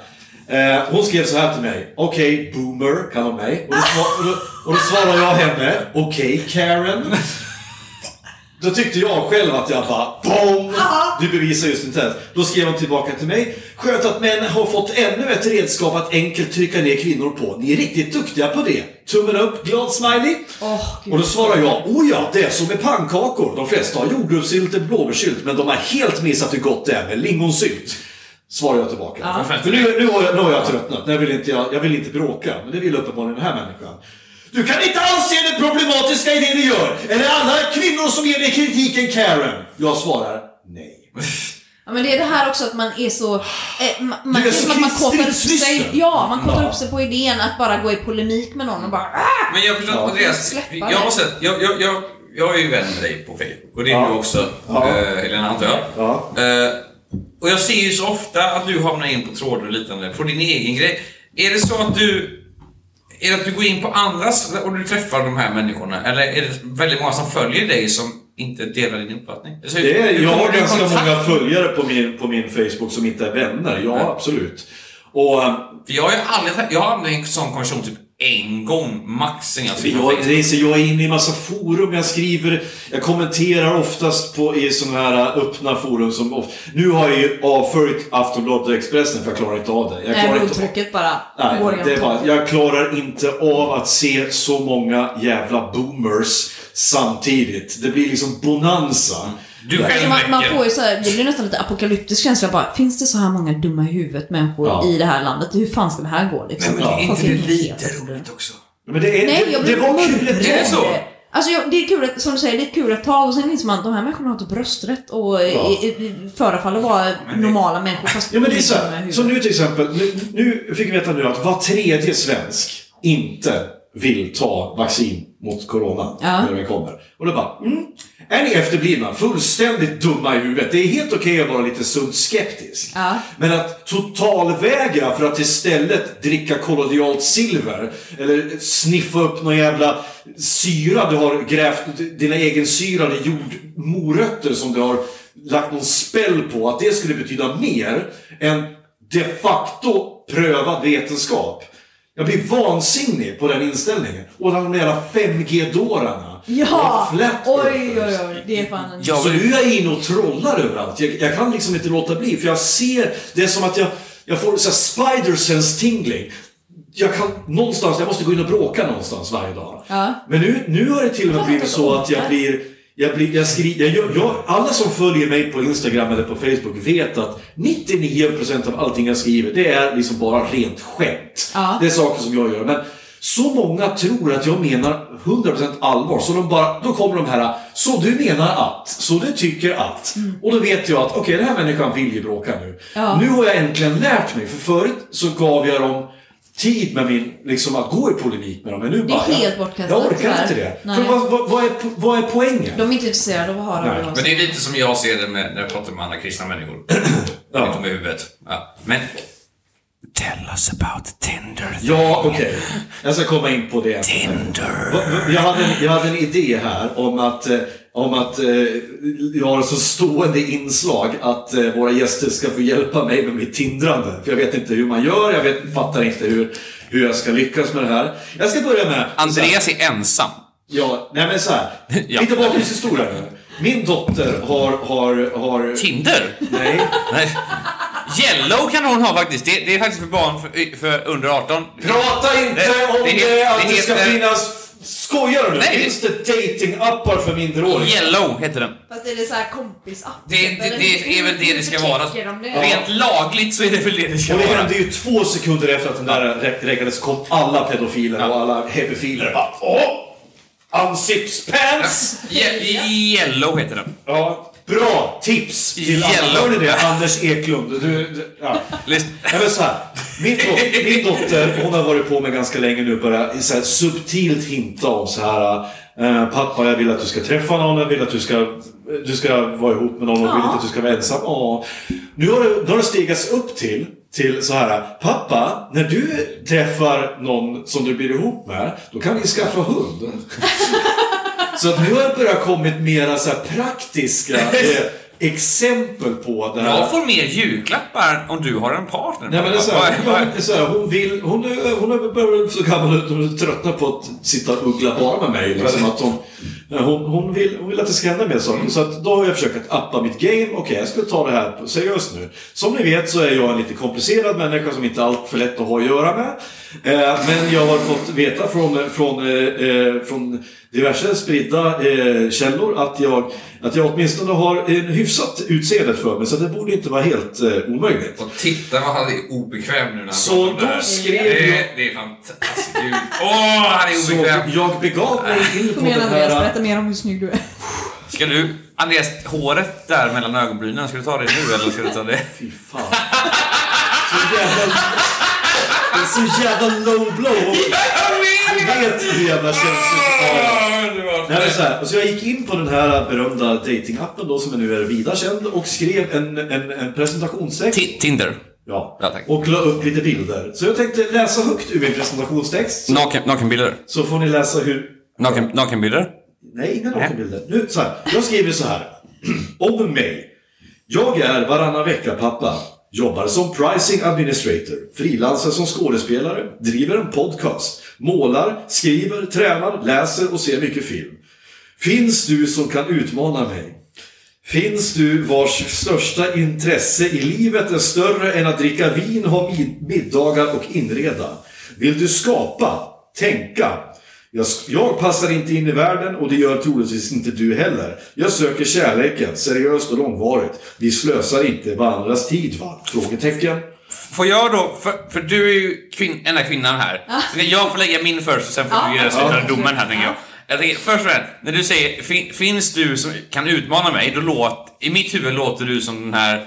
S4: Eh, hon skrev så här till mig, okej boomer kallar hon mig. Och då, sva- och då, och då svarar jag henne, okej Karen. Då tyckte jag själv att jag bara BOOM! Du bevisar just inte ens. Då skrev hon tillbaka till mig. Skönt att män har fått ännu ett redskap att enkelt trycka ner kvinnor på. Ni är riktigt duktiga på det. Tummen upp, glad smiley.
S2: Åh, Gud.
S4: och då svarar jag, oh ja, det är som med pannkakor. De flesta har jordgubbssylt eller blåbärssylt, men de har helt missat hur gott det är med lingonsylt. Svarar jag tillbaka. För nu, nu, har jag, nu har jag tröttnat. Nu vill inte jag, jag vill inte bråka, men det vill uppenbarligen den här människan. Du kan inte alls se det problematiska i det du gör! Är det alla kvinnor som ger dig kritiken Karen? Jag svarar nej.
S2: Ja, men det är det här också att man är så... Eh, ma- man,
S4: Du är
S2: det är som
S4: så
S2: att man kåtar upp sig.
S4: stridslysten.
S2: Ja, man kåtar
S4: Ja.
S2: upp sig på idén att bara gå i polemik med någon och bara ah!
S3: Men jag förstår
S4: Ja.
S3: Andreas,
S2: Släppa
S3: jag
S2: det.
S3: måste jag, jag, jag, jag är ju vän med dig på Facebook och det är
S4: Ja.
S3: du också,
S4: Ja.
S3: eh, Helena antar jag.
S4: Ja.
S3: Eh, och jag ser ju så ofta att du hamnar in på trådar och liknande, på din egen grej. Är det så att du är det att du går in på andras och du träffar de här människorna? Eller är det väldigt många som följer dig som inte delar din uppfattning? Alltså,
S4: Det är,
S3: hur
S4: jag
S3: kommer
S4: har
S3: du i
S4: ganska
S3: kontakt?
S4: många följare på min, på min Facebook som inte är vänner. Ja, absolut. Och eh,
S3: För jag har ju aldrig jag har hamnat i en sån konversation typ en gång max sen jag skrev på
S4: jag,
S3: Facebook.
S4: det är så jag är inne i massa forum. Jag skriver, jag kommenterar oftast på, i sådana här eh, öppna forum som... of- Nu har jag ju avföljt Aftonbladet och Expressen för jag klarar inte av det. Jag
S2: Nej,
S4: klarar inte av-
S2: blodtrycket bara går
S4: Nej, det är
S2: igenom
S4: bara,
S2: taket.
S4: jag klarar inte av att se så många jävla boomers samtidigt. Det blir liksom bonanza.
S3: Du
S4: Ja.
S3: själv
S2: Alltså, Man, man
S3: räcker.
S2: får ju så här, det blir nästan lite apokalyptisk känsla bara, finns det så här många dumma i huvudet människor
S4: Ja.
S2: i det här landet? Hur fan ska det här gå
S3: Nej,
S2: liksom?
S3: men är inte
S2: Folk är
S3: det
S2: helt
S3: lite
S2: helt-
S3: roligt också?
S4: Men det, är,
S2: Nej, jag
S4: det, det
S2: blir
S4: var kul ett
S3: Är det
S4: tag.
S3: så?
S2: Alltså jag, det är kul, att, som du säger, det är kul ett tag och sen inser man att de här människorna har typ rösträtt och ja. förefaller vara normala människor fast
S4: Ja, men det är så
S2: dumma i
S4: här.
S2: huvudet.
S4: Som nu till exempel, nu, nu fick vi veta nu att var tredje svensk inte vill ta vaccin mot corona
S2: Ja.
S4: när det kommer. Och då bara, mm, är ni efterblivna, fullständigt dumma i huvudet. Det är helt okej att vara lite sunt skeptisk.
S2: Ja.
S4: Men att totalvägra för att istället dricka kollodialt silver eller sniffa upp någon jävla syra du har grävt, dina egen syra eller jordmorötter som du har lagt någon spell på, att det skulle betyda mer än de facto prövad vetenskap. Jag blir vansinnig på den inställningen. Och de där jävla 5G-dårarna.
S2: Ja!
S4: Och flat
S2: Oj, oj,
S4: earthers.
S2: oj. Det är fan en...
S3: Ja,
S4: Så
S3: men-
S4: nu är jag inne och trollar överallt. Jag, jag kan liksom inte låta bli, för jag ser... Det är som att jag, jag får så här spider sense tingling. Jag kan någonstans, jag måste gå in och bråka någonstans varje dag.
S2: Ja.
S4: Men nu, nu har det till och med
S2: Varför
S4: blivit
S2: inte
S4: så att jag
S2: orkar?
S4: blir... Jag blir jag skri, jag, gör- jag, alla som följer mig på Instagram eller på Facebook vet att 99% av allting jag skriver, det är liksom bara rent skämt.
S2: Ja.
S4: Det är saker som jag gör. Men så många tror att jag menar 100% allvar, så de bara, då kommer de här “så du menar att, så du tycker att”. Och då vet jag att okej, den här människan vill ju bråka nu.
S2: Mm. Ja.
S4: Nu har jag äntligen lärt mig, för förut så gav jag dem tid med min, liksom att gå i polemik med dem. Men nu
S2: Det är
S4: bara,
S2: helt
S4: jag,
S2: bortkastat,
S4: jag orkar inte
S2: tyvärr.
S4: det.
S2: Nej.
S4: För vad, vad, vad, är, po- vad är poängen?
S2: De är inte intresserade av att höra
S4: Nej,
S2: vad de
S3: Men
S2: säger.
S3: det är lite som jag ser det med, när jag pratar med andra kristna (clears throat) människor.
S4: Ja.
S3: Inte med huvudet. Ja. Men... Tell us about Tinder.
S4: Ja, okej. Jag ska komma in på det.
S3: Tinder.
S4: Va- va- Jag hade, en, jag hade en idé här om att, eh, om att eh, jag har ett så stående inslag att eh, våra gäster ska få hjälpa mig med mitt tindrande. För jag vet inte hur man gör, jag vet, fattar inte hur, hur jag ska lyckas med det här. Jag ska börja med... så här-
S3: Andreas är ensam.
S4: Ja, nej men så här.
S3: (laughs) Ja.
S4: Lite bakgrundshistoria nu. Min dotter har... har, har
S3: Tinder?
S4: nej.
S3: Nej. Yellow kan hon ha faktiskt. Det, det är faktiskt för barn för, för under 18.
S4: Prata inte
S3: Det-
S4: om
S3: det
S4: det,
S3: he-
S4: att
S3: det
S4: det, ska
S3: heter-
S4: finnas... Skojar du?
S3: Nej.
S4: Finns det datingappar för minderåriga?
S3: Yellow heter den.
S2: Fast är det så här kompisapp?
S3: Det, det, det är väl det det ska vara.
S2: Ja.
S3: Rent lagligt så är det väl det det ska
S4: Och det
S3: vara.
S4: hände ju två sekunder efter att den där rä- räckades kom alla pedofiler och alla hebefiler bara Åh! Unzips pants!
S3: Ye- Yellow heter den.
S4: Ja, bra tips till alla.
S3: Yellow.
S4: Hör ni det? Anders Eklund. Du, du, ja.
S3: Lyssna.
S4: Nej, men så här. Min, dot- min dotter, hon har varit på mig ganska länge nu, börjar så här subtilt hinta om så här. eh, pappa, jag vill att du ska träffa någon, jag vill att du ska, du ska vara ihop med någon, jag vill inte att du ska vara ensam. Åh. Nu har det, då har det stigats upp till, till så här. Pappa, när du träffar någon som du blir ihop med, då kan vi skaffa hund. Så att nu har det börjat kommit mera så här praktiska eh, exempel på det här.
S3: Jag får mer julklappar om du har en partner.
S4: Nej men det är så här,
S3: Vad- vad-
S4: ja, det är så här, hon vill, hon, är, hon är börjar så gammal ut, hon är tröttna på att sitta och uggla bara med mig. Liksom, att hon, hon, hon, vill, hon vill att det ska hända mer saker. Så att då har jag försökt att appa mitt game. Okej, jag ska ta det här på- seriöst nu. Som ni vet så är jag en lite komplicerad människa som inte är allt för lätt att ha att göra med. Eh, men jag har fått veta från, från, eh, eh, från diverse spridda eh, källor att jag, att jag åtminstone har en hyfsat utseende för mig. Så det borde inte vara helt eh, omöjligt.
S3: Och titta vad han är obekväm nu när han
S4: Så
S3: pratar om det
S4: då
S3: här.
S4: skrev
S3: Alltså, det,
S4: jag-
S3: det är fantastiskt kul. Åh, han är
S4: Så
S3: obekväm!
S4: jag begav mig in på
S2: Kom igen
S4: den
S2: Andreas,
S4: här...
S2: berätta mer om hur snygg du är.
S3: Ska du Andreas, håret där mellan ögonbrynen, ska du ta det nu eller ska du ta det?
S4: Fy fan. Så jävla... Det är så jävla low blow. Jag vet hur jävla känsligt Nej, men så här, alltså jag gick in på den här berömda datingappen då som nu är vida känd och skrev en, en, en presentationstext.
S3: Ti- Tinder.
S4: Ja,
S3: Ja, tack.
S4: och la upp lite bilder. Så jag tänkte läsa högt ur min presentationstext. Så,
S3: Naken, nakenbilder.
S4: så får ni läsa hur...
S3: Naken, nakenbilder.
S4: Nej, inga nakenbilder. Nu, så här, jag skriver så här. (clears throat) Om mig. Jag är varannan vecka-pappa. Jobbar som pricing administrator, frilansar som skådespelare, driver en podcast, målar, skriver, tränar, läser och ser mycket film. Finns du som kan utmana mig? Finns du vars största intresse i livet är större än att dricka vin, ha mid- middagar och inreda? Vill du skapa? Tänka? Jag, sk- jag passar inte in i världen och det gör troligtvis inte du heller. Jag söker kärleken, seriöst och långvarigt. Vi slösar inte varandras tid va? Frågetecken.
S3: Får jag då, för, för du är ju kvin, enda kvinnan här. Så jag får lägga min först och sen får
S2: Ja.
S3: du ge slutande
S2: Ja.
S3: domen här tänker jag. jag tänker, först och främst, när du säger fin, finns du som kan utmana mig, då låt, i mitt huvud låter du som den här eh,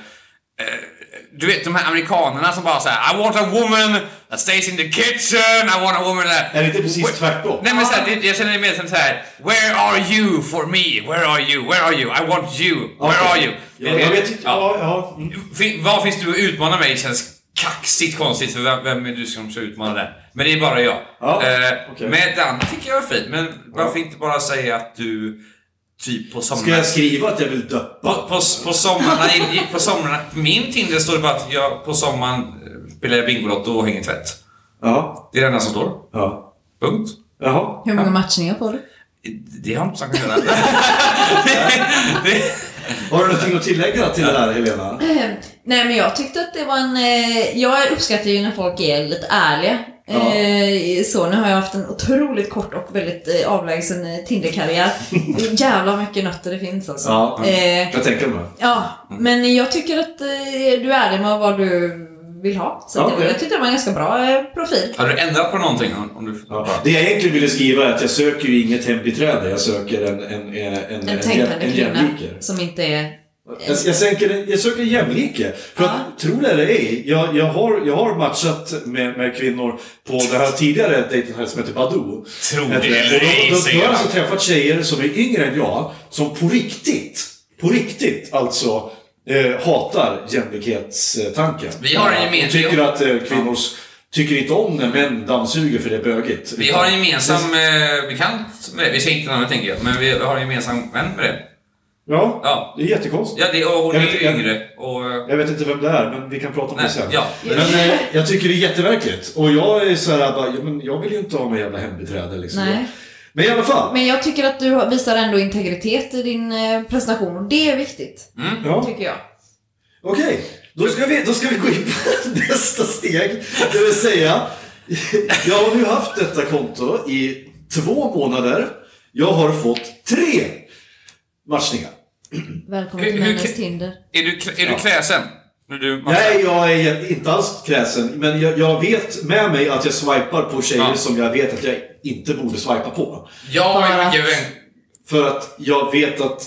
S3: du vet de här amerikanerna som bara såhär I want a woman that stays in the kitchen, I want a woman that...
S4: Är det inte precis
S3: Wait,
S4: tvärtom?
S3: Nej men såhär, det- jag känner det mer som såhär Where are you for me? Where are you? Where are you? I want you. Where
S4: Okej.
S3: are you?
S4: Ja, jag vet inte. Ja, ja. Mm.
S3: Fin, vad finns du att utmana mig känns kaxigt konstigt för vem, vem är du som ska utmana det? Men det är bara jag.
S4: Ja,
S3: Eh,
S4: okej.
S3: Men den tycker jag är fin. Men varför inte bara säga att du typ på
S4: Ska
S3: sommaren...
S4: jag skriva att jag vill
S3: På,
S4: döppa?
S3: på, på somrarna, i- i- på somrarna... på Min Tinder står det bara att jag på sommaren eh, spelar jag Bingolotto och hänger tvätt.
S4: Ja.
S3: Det är det enda som står.
S4: ja.
S3: Punkt.
S4: Jaha.
S2: Hur många matchningar får du?
S3: Det har inte sagt att göra. (laughs) Det-
S4: Har du någonting att tillägga till det här Helena?
S2: Eh, Nej men jag tyckte att det var en... eh, Jag uppskattar ju när folk är lite ärliga.
S4: Ja.
S2: Eh, Så nu har jag haft en otroligt kort och väldigt eh, avlägsen eh,
S4: (laughs)
S2: Tinder-karriär. Jävla mycket nötter det finns alltså.
S4: Ja.
S2: Eh,
S4: Jag tänker mig.
S2: ja, men jag tycker att eh, du är ärlig med vad du vill ha. Så att
S4: Ja,
S2: det,
S4: det-
S2: jag tyckte det var en ganska bra eh, profil.
S3: Har du ändrat på någonting? Om, om du...
S4: Ja. Det jag egentligen ville skriva är att jag söker ju inget hembiträde. Jag söker en, en, en, en,
S2: En
S4: jäm-
S2: tänkande
S4: en
S2: kvinna
S4: jämlike.
S2: som inte är...
S4: Jag, jag, sänker, en- jag söker en jämlike. För att, tro det eller ej, jag, jag, har, jag har matchat med, med kvinnor på det här tidigare dejten som heter Badoo.
S3: Tror det
S4: Och då-
S3: eller ej,
S4: då- Då
S3: säger
S4: har jag
S3: jag.
S4: alltså träffat tjejer som är yngre än jag, som på riktigt, på riktigt alltså, eh, hatar jämlikhetstanken.
S3: Vi har en
S4: Ja,
S3: gemensam-
S4: och Tycker att eh, kvinnor s- tycker inte om när män dammsuger för det är bögigt.
S3: Vi har en gemensam eh, bekant med det. Vi säger inte namnet tänker jag, men vi har en gemensam vän med det.
S4: Ja,
S3: Ja.
S4: det är jättekonstigt.
S3: Ja, det, och hon
S4: Jag
S3: är
S4: vet-
S3: ju
S4: jag-
S3: yngre. Och, eh,
S4: Jag vet inte vem det är, men vi kan prata om
S3: nej,
S4: det sen.
S3: ja.
S4: Men eh, jag tycker det är jätteverkligt. Och jag är så här, bara, ja, men jag vill ju inte ha någon jävla hembiträde liksom.
S2: Nej.
S4: Men i alla fall.
S2: Men jag tycker att du har- visar ändå integritet i din eh, presentation. och Det är viktigt,
S4: Ja.
S2: tycker jag.
S4: Okej, då, ska vi, då ska vi gå in på (laughs) nästa steg. Det vill säga, jag har nu haft detta konto i två månader. Jag har fått tre matchningar.
S2: Välkommen
S3: Hur-
S2: till
S3: hur
S2: Männens
S3: kan-
S2: Tinder.
S3: Är du, kr- är du
S4: Ja.
S3: kräsen? När du,
S4: Nej, jag är inte alls kräsen. Men jag, jag vet med mig att jag swipar på tjejer
S3: Ja.
S4: som jag vet att jag inte borde swipa på.
S3: Jag
S2: Bara-
S3: är mycket vän.
S4: För att jag vet att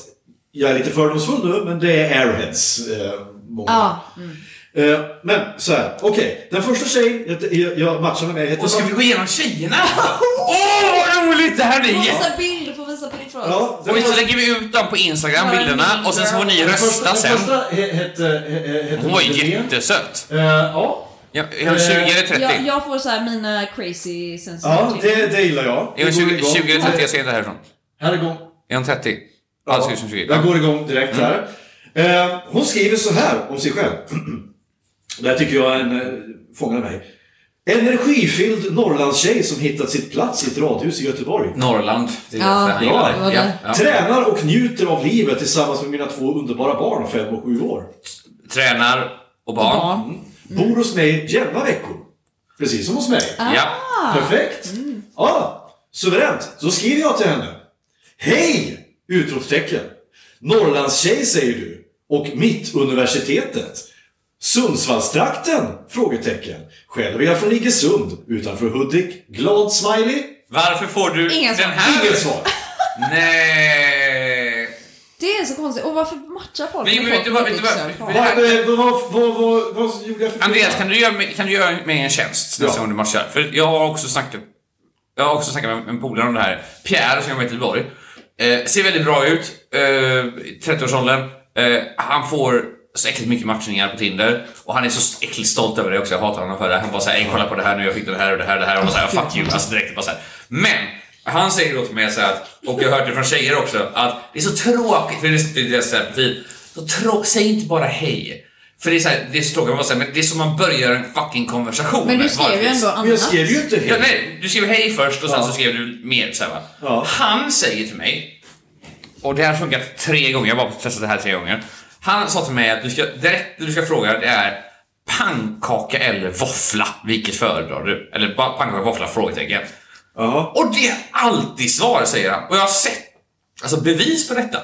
S4: jag är lite fördomsfull nu, men det är airheads. Eh, många.
S2: Ja.
S4: Eh, men så här, okej. Den första tjejen jag, jag, jag matchade med heter
S3: Och ska vi gå igenom tjejerna? Åh, vad roligt! Det här blir
S2: Du får
S3: jätte...
S2: visa bild, du får visa bild för oss.
S4: Ja, den
S3: Och så
S4: första-
S3: lägger vi ut dem på Instagram,
S2: Ja,
S3: bilderna, och sen så får ni
S2: den
S3: rösta
S4: den
S3: sen.
S4: första he- hette... he- he- hette
S3: Hon var
S4: Madeleine.
S3: jättesöt.
S4: Eh, ja.
S3: Ja, Är hon 20 eller 30?
S2: Jag, jag får så här mina crazy sensorer.
S4: Ja, det, det gillar jag.
S3: Är hon
S4: Det går
S3: 20,
S4: igång.
S3: 20 eller 30? Jag ser inte härifrån.
S4: Här är igång.
S3: Är hon 30?
S4: Ja,
S3: Alltså, just 20.
S4: Jag går igång direkt här. Eh, hon skriver så här om sig själv. (clears throat) det här tycker jag är en, eh, fångar mig. Energifylld Norrlandstjej som hittat sitt plats i ett radhus i Göteborg.
S3: Norrland. Det är
S2: Ja,
S3: därför han
S4: bra.
S3: gillar det.
S4: Det
S2: var det.
S4: Tränar och njuter av livet tillsammans med mina två underbara barn, fem och sju år.
S3: Tränar och barn.
S2: Ja.
S4: Bor hos mig jämna veckor. Precis som hos mig.
S3: Ja.
S4: Perfekt! Ja, suveränt! Då skriver jag till henne. Hej! Utropstecken. Norrlandstjej säger du. Och Mittuniversitetet. Sundsvallstrakten? Frågetecken. Själv är jag från Iggesund utanför Hudik. Glad smiley.
S3: Varför får du
S2: Inga
S3: den
S2: svar.
S3: här?
S4: Inget svar.
S3: Nej.
S2: Det är är så konstigt? Och varför matchar folk
S3: Nej,
S2: med
S3: men
S2: folk
S3: vet du vad-
S2: med
S3: vet du vad-
S2: byxor på?
S3: vet
S4: Vad, eh, vad, vad, vad, vad, vad gjorde jag för fel?
S3: Andreas, kan du göra mig, kan du göra mig en tjänst nästa
S4: Ja.
S3: gång du matchar? För jag har också snackat, jag har också snackat med en polare om det här. Pierre, som jag med till Göteborg. Eh, ser väldigt bra ut, eh, 30-årsåldern. Eh, han får så äckligt mycket matchningar på Tinder. Och han är så äckligt stolt över det också, jag hatar honom för det. Han bara såhär, "Ey, kolla på det här nu, jag fick det här och det här och det här. Och bara såhär, fuck you. Alltså direkt bara såhär. Men! Han säger då till mig såhär, att- och jag har hört det från tjejer också, att det är så tråkigt, för det är deras så här profil. Så trå- säg inte bara hej. För det är såhär, det är så tråkigt, man bara såhär, men det är som man börjar en fucking konversation.
S2: Men du skrev ju
S3: vanligtvis.
S2: ändå
S4: Men jag
S2: annat.
S4: skrev ju inte
S3: Ja,
S4: helt.
S3: nej, du skrev hej först och sen så skrev du mer så här, va?
S4: Ja.
S3: Han säger till mig, och det här har funkat tre gånger, jag har bara testat det här tre gånger. Han sa till mig att du ska, direkt du ska fråga det är pannkaka eller våffla, vilket föredrar du? Eller bara pannkaka, våffla, frågetecken.
S4: Ja.
S3: Och det är alltid svar, säger han. Och jag har sett alltså, bevis på detta.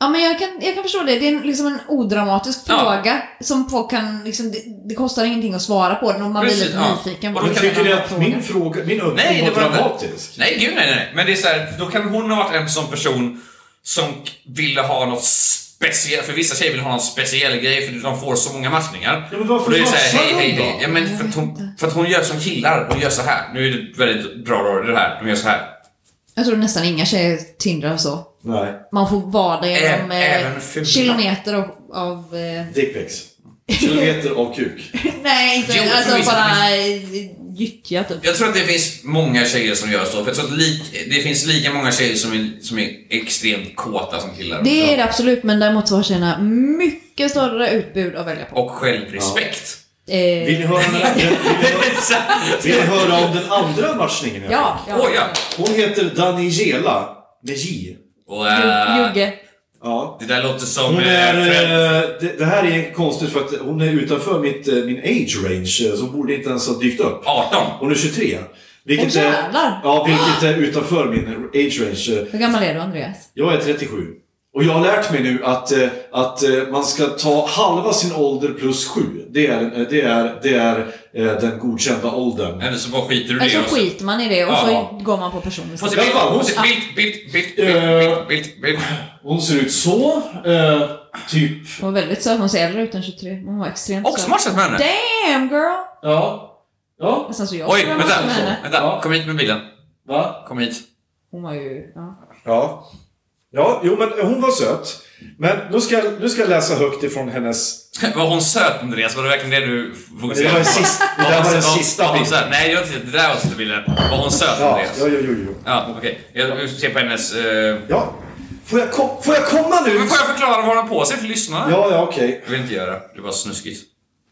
S2: Ja, men jag kan, jag kan förstå det. Det är en, liksom en odramatisk
S3: Ja.
S2: fråga som folk kan... Liksom, det, det kostar ingenting att svara på den och man
S3: Precis,
S2: blir lite
S3: ja.
S2: nyfiken.
S3: Och
S2: på
S3: då
S4: Men
S2: den
S3: kan-
S2: här
S4: tycker ni att
S2: frågan.
S4: min fråga, min
S3: Nej,
S4: undring
S3: det
S4: var
S3: var inte-
S4: dramatisk?
S3: Nej, gud nej, nej, nej. Men det är så här, då kan hon ha varit en sån person som k- ville ha något speciellt, för vissa tjejer vill ha någon speciell grej för de får så många matchningar.
S4: Ja, men varför
S3: Och det är så
S4: matchar
S3: här, hej,
S4: de
S3: hej,
S4: då?
S3: hej. Ja, men för att, hon, för att hon gör som killar, hon gör så här. Nu är det väldigt bra då, det här. De gör så här.
S2: Jag tror nästan inga tjejer tindrar så.
S4: Nej.
S2: Man får vada genom
S3: även
S2: eh,
S3: fula.
S2: kilometer av... av eh,
S4: Dickpics. Kilometer av kuk.
S2: nej, inte
S3: Jo, för
S2: alltså
S3: vissa-
S2: bara eh, gyttja typ.
S3: Jag tror att det finns många tjejer som gör så, för jag tror att lik, det finns lika många tjejer som är, som är extremt kåta som killar.
S2: Det är det absolut, men däremot så har tjejerna mycket större utbud att välja på.
S3: Och självrespekt.
S2: Eh,
S4: Vill ni höra, om
S3: (laughs)
S4: den- vill ni höra,
S3: Så här.
S4: vill ni höra om den andra matchningen? jag
S2: ja,
S3: (laughs) Åh ja!
S4: fick? Hon heter Daniela med J.
S3: Och,
S2: Ju-
S3: äh,
S2: Jugge.
S4: Ja.
S3: det där låter som...
S4: Hon
S3: eh,
S4: är,
S3: Fred-
S4: eh, det, det här är konstigt för att hon är utanför mitt, eh, min age range, eh, så hon borde inte ens ha dykt upp.
S3: 18.
S4: Hon är 23. Vilket
S2: Åh,
S4: är,
S2: jävlar!
S4: ja, vilket är utanför min age range. eh,
S2: Hur gammal är du Andreas?
S4: Jag är 37. Och jag har lärt mig nu att, eh, att eh, man ska ta halva sin ålder plus sju. Det är, eh, det är, det är eh, den godkända åldern.
S3: Eller så bara skiter du i
S2: Eller
S3: det.
S2: så
S3: och så-
S2: Alltså, skiter man i det och
S3: Ja.
S2: så går man på personen.
S3: Få se
S4: I alla fall, hon-
S3: bild, bild, bild, bild, bild, bild, bild, bild.
S4: Hon ser ut så. Eh, typ.
S2: Hon var väldigt söt, hon ser äldre ut än 23. Hon var extremt
S3: Också
S2: söt.
S3: matchat med henne.
S2: Damn girl!
S4: Ja. Ja.
S2: Nästan så jag
S3: Oj,
S2: skulle vara
S3: vänta.
S2: matchad med henne.
S3: Vänta,
S4: Ja.
S3: kom hit med bilen.
S4: Va?
S3: Kom hit.
S2: Hon var ju... Ja.
S4: Ja. Ja, jo men hon var söt. Men nu ska, nu ska jag läsa högt ifrån hennes...
S3: Var hon söt Andreas? Var det verkligen det du
S4: Det var
S3: fokuserade
S4: den
S3: på?
S4: sista, det där var den sista
S3: bilden.
S4: bilden.
S3: Nej, jag vet inte. det där var sista bilden. Var hon söt
S4: Ja,
S3: Andreas?
S4: jo, jo, jo. jo.
S3: Ja, okej. Jag ser på hennes... eh,
S4: Ja. Får jag, kom, får jag komma nu?
S3: Men får jag förklara vad hon har på sig för lyssnarna?
S4: Ja, ja, okej.
S3: Jag vill inte göra. Det var snuskigt.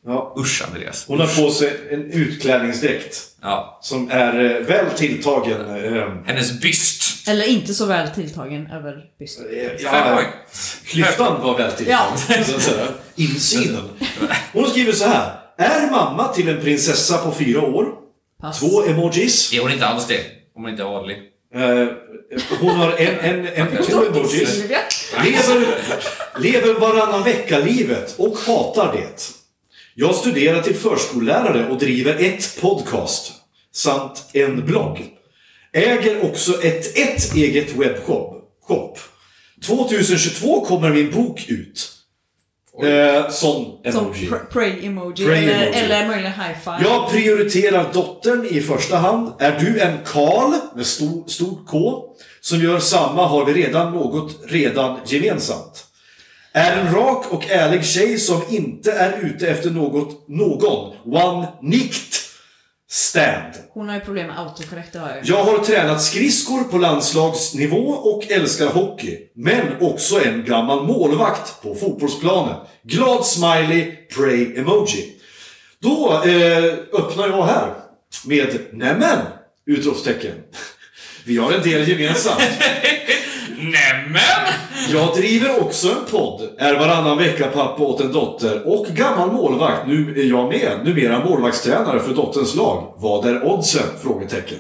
S4: Ja.
S3: Usch Andreas.
S4: Hon har på sig en utklädningsdräkt.
S3: Ja.
S4: Som är eh, väl tilltagen. Eh,
S3: Hennes byst.
S2: Eller inte så väl tilltagen över bysten.
S3: Fem
S4: ja,
S3: poäng.
S4: klyftan var väl tilltagen. så att säga. Insidan. Hon skriver så här. Är mamma till en prinsessa på fyra år?
S2: Pass.
S4: Två emojis.
S3: Är hon inte alls det? Om hon inte är adlig.
S4: Eh, hon har en, en, en två emojis.
S2: Silvia.
S4: Lever, lever varannan vecka-livet och hatar det. Jag studerar till förskollärare och driver ett podcast samt en blogg. Äger också ett, ett eget webbshop. Shop. 2022 kommer min bok ut. Eh, som
S2: Som
S4: emoji.
S2: pr- pray-emoji.
S4: Pray
S2: eller,
S4: emoji.
S2: eller möjligen high-five.
S4: Jag prioriterar dottern i första hand. Är du en Karl med stor, stort K som gör samma har vi redan något redan gemensamt. Är en rak och ärlig tjej som inte är ute efter något, någon. One nikt stand.
S2: Hon har ju problem med autocorrect, det har jag ju.
S4: Jag har tränat skridskor på landslagsnivå och älskar hockey. Men också en gammal målvakt på fotbollsplanen. Glad smiley, pray emoji. Då eh, öppnar jag här med nämen! Utropstecken. Vi har en del gemensamt.
S3: Nämen!
S4: Jag driver också en podd. Är varannan vecka pappa åt en dotter och gammal målvakt. Nu är jag med. Numera målvaktstränare för dotterns lag. Vad är oddsen? Frågetecken.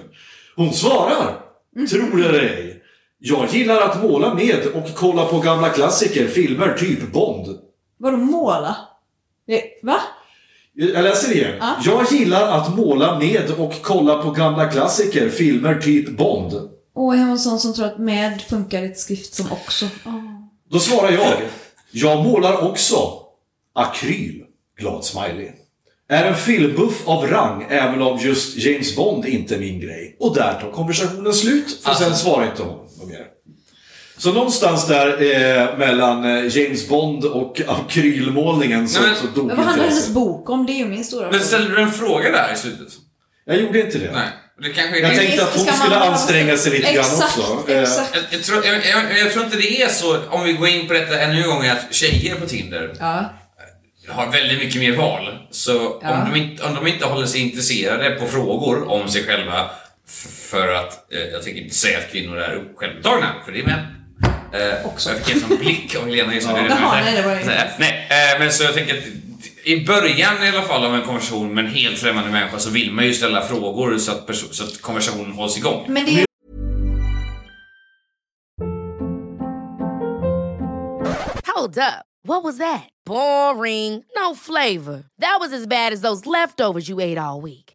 S4: Hon svarar. Tror det eller ej. Jag gillar att måla med och kolla på gamla klassiker, filmer, typ Bond.
S2: Vadå måla? Det, va?
S4: Jag läser igen.
S2: Ja.
S4: Jag gillar att måla med och kolla på gamla klassiker, filmer, typ Bond.
S2: Åh, är hon sån som tror att med funkar i ett skrift som också? Åh.
S4: Då svarar jag. Jag målar också. Akryl. Glad smiley. Är en filmbuff av rang, även om just James Bond inte är min grej. Och där tar konversationen slut, för
S3: Alltså.
S4: sen svarar inte hon något mer. Så någonstans där eh, mellan eh, James Bond och akrylmålningen så,
S3: Nej, men-
S4: så dog
S2: Men vad handlar hennes
S4: intresset.
S2: bok om? Det är ju min stora
S3: Men
S2: fråga.
S3: ställde du en fråga där i slutet?
S4: Jag gjorde inte det.
S3: Nej. Det kanske
S4: Jag
S3: det-
S4: tänkte att hon
S2: Ska man
S4: skulle
S2: bara-
S4: anstränga sig lite grann också.
S2: Exakt,
S4: Eh,
S2: exakt.
S3: Jag, jag, tror, jag, jag, jag tror inte det är så, om vi går in på detta ännu en gång, att tjejer på Tinder
S2: Ja.
S3: har väldigt mycket mer val. Så
S2: Ja.
S3: om, de inte, om de inte håller sig intresserade på frågor om sig själva, f- för att eh, jag tänker inte säga att kvinnor är upp- självupptagna, för det är män. Eh,
S2: Också.
S3: Jag fick en sån blick av Helena just nu.
S2: Jaha, nej, det var ju-
S3: Nej, nej, eh, men så jag tänker att i början i alla fall av en konversation med en helt främmande människa så vill man ju ställa frågor så att, perso- så att konversationen hålls igång.
S2: Men det är
S1: Hold up. What was that? Boring. No flavor. That was as bad as those leftovers you ate all week.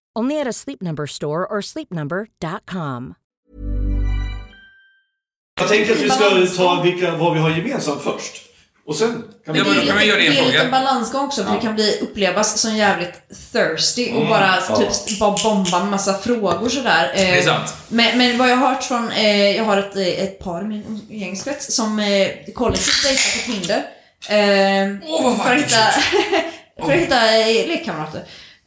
S5: Only at a Sleep Number store or sleepnumber.com.
S4: Jag tänkte att vi ska ta vilka, vad vi har gemensamt först. Och sen kan vi...
S3: Ja, men då kan vi göra det i en
S2: det är
S3: fråga.
S2: lite balansgång också, för det kan bli upplevas som jävligt thirsty och bara typ bara bomba en massa frågor sådär. Eh,
S3: Det är sant.
S2: Men, men vad jag har hört från, eh, jag har ett, eh, ett par i min gängskrets som eh, kollektivt dejtar på Tinder. Eh,
S3: Åh, vad
S2: för att
S3: vackert.
S2: hitta, (laughs) för att hitta eh, lekkamrater.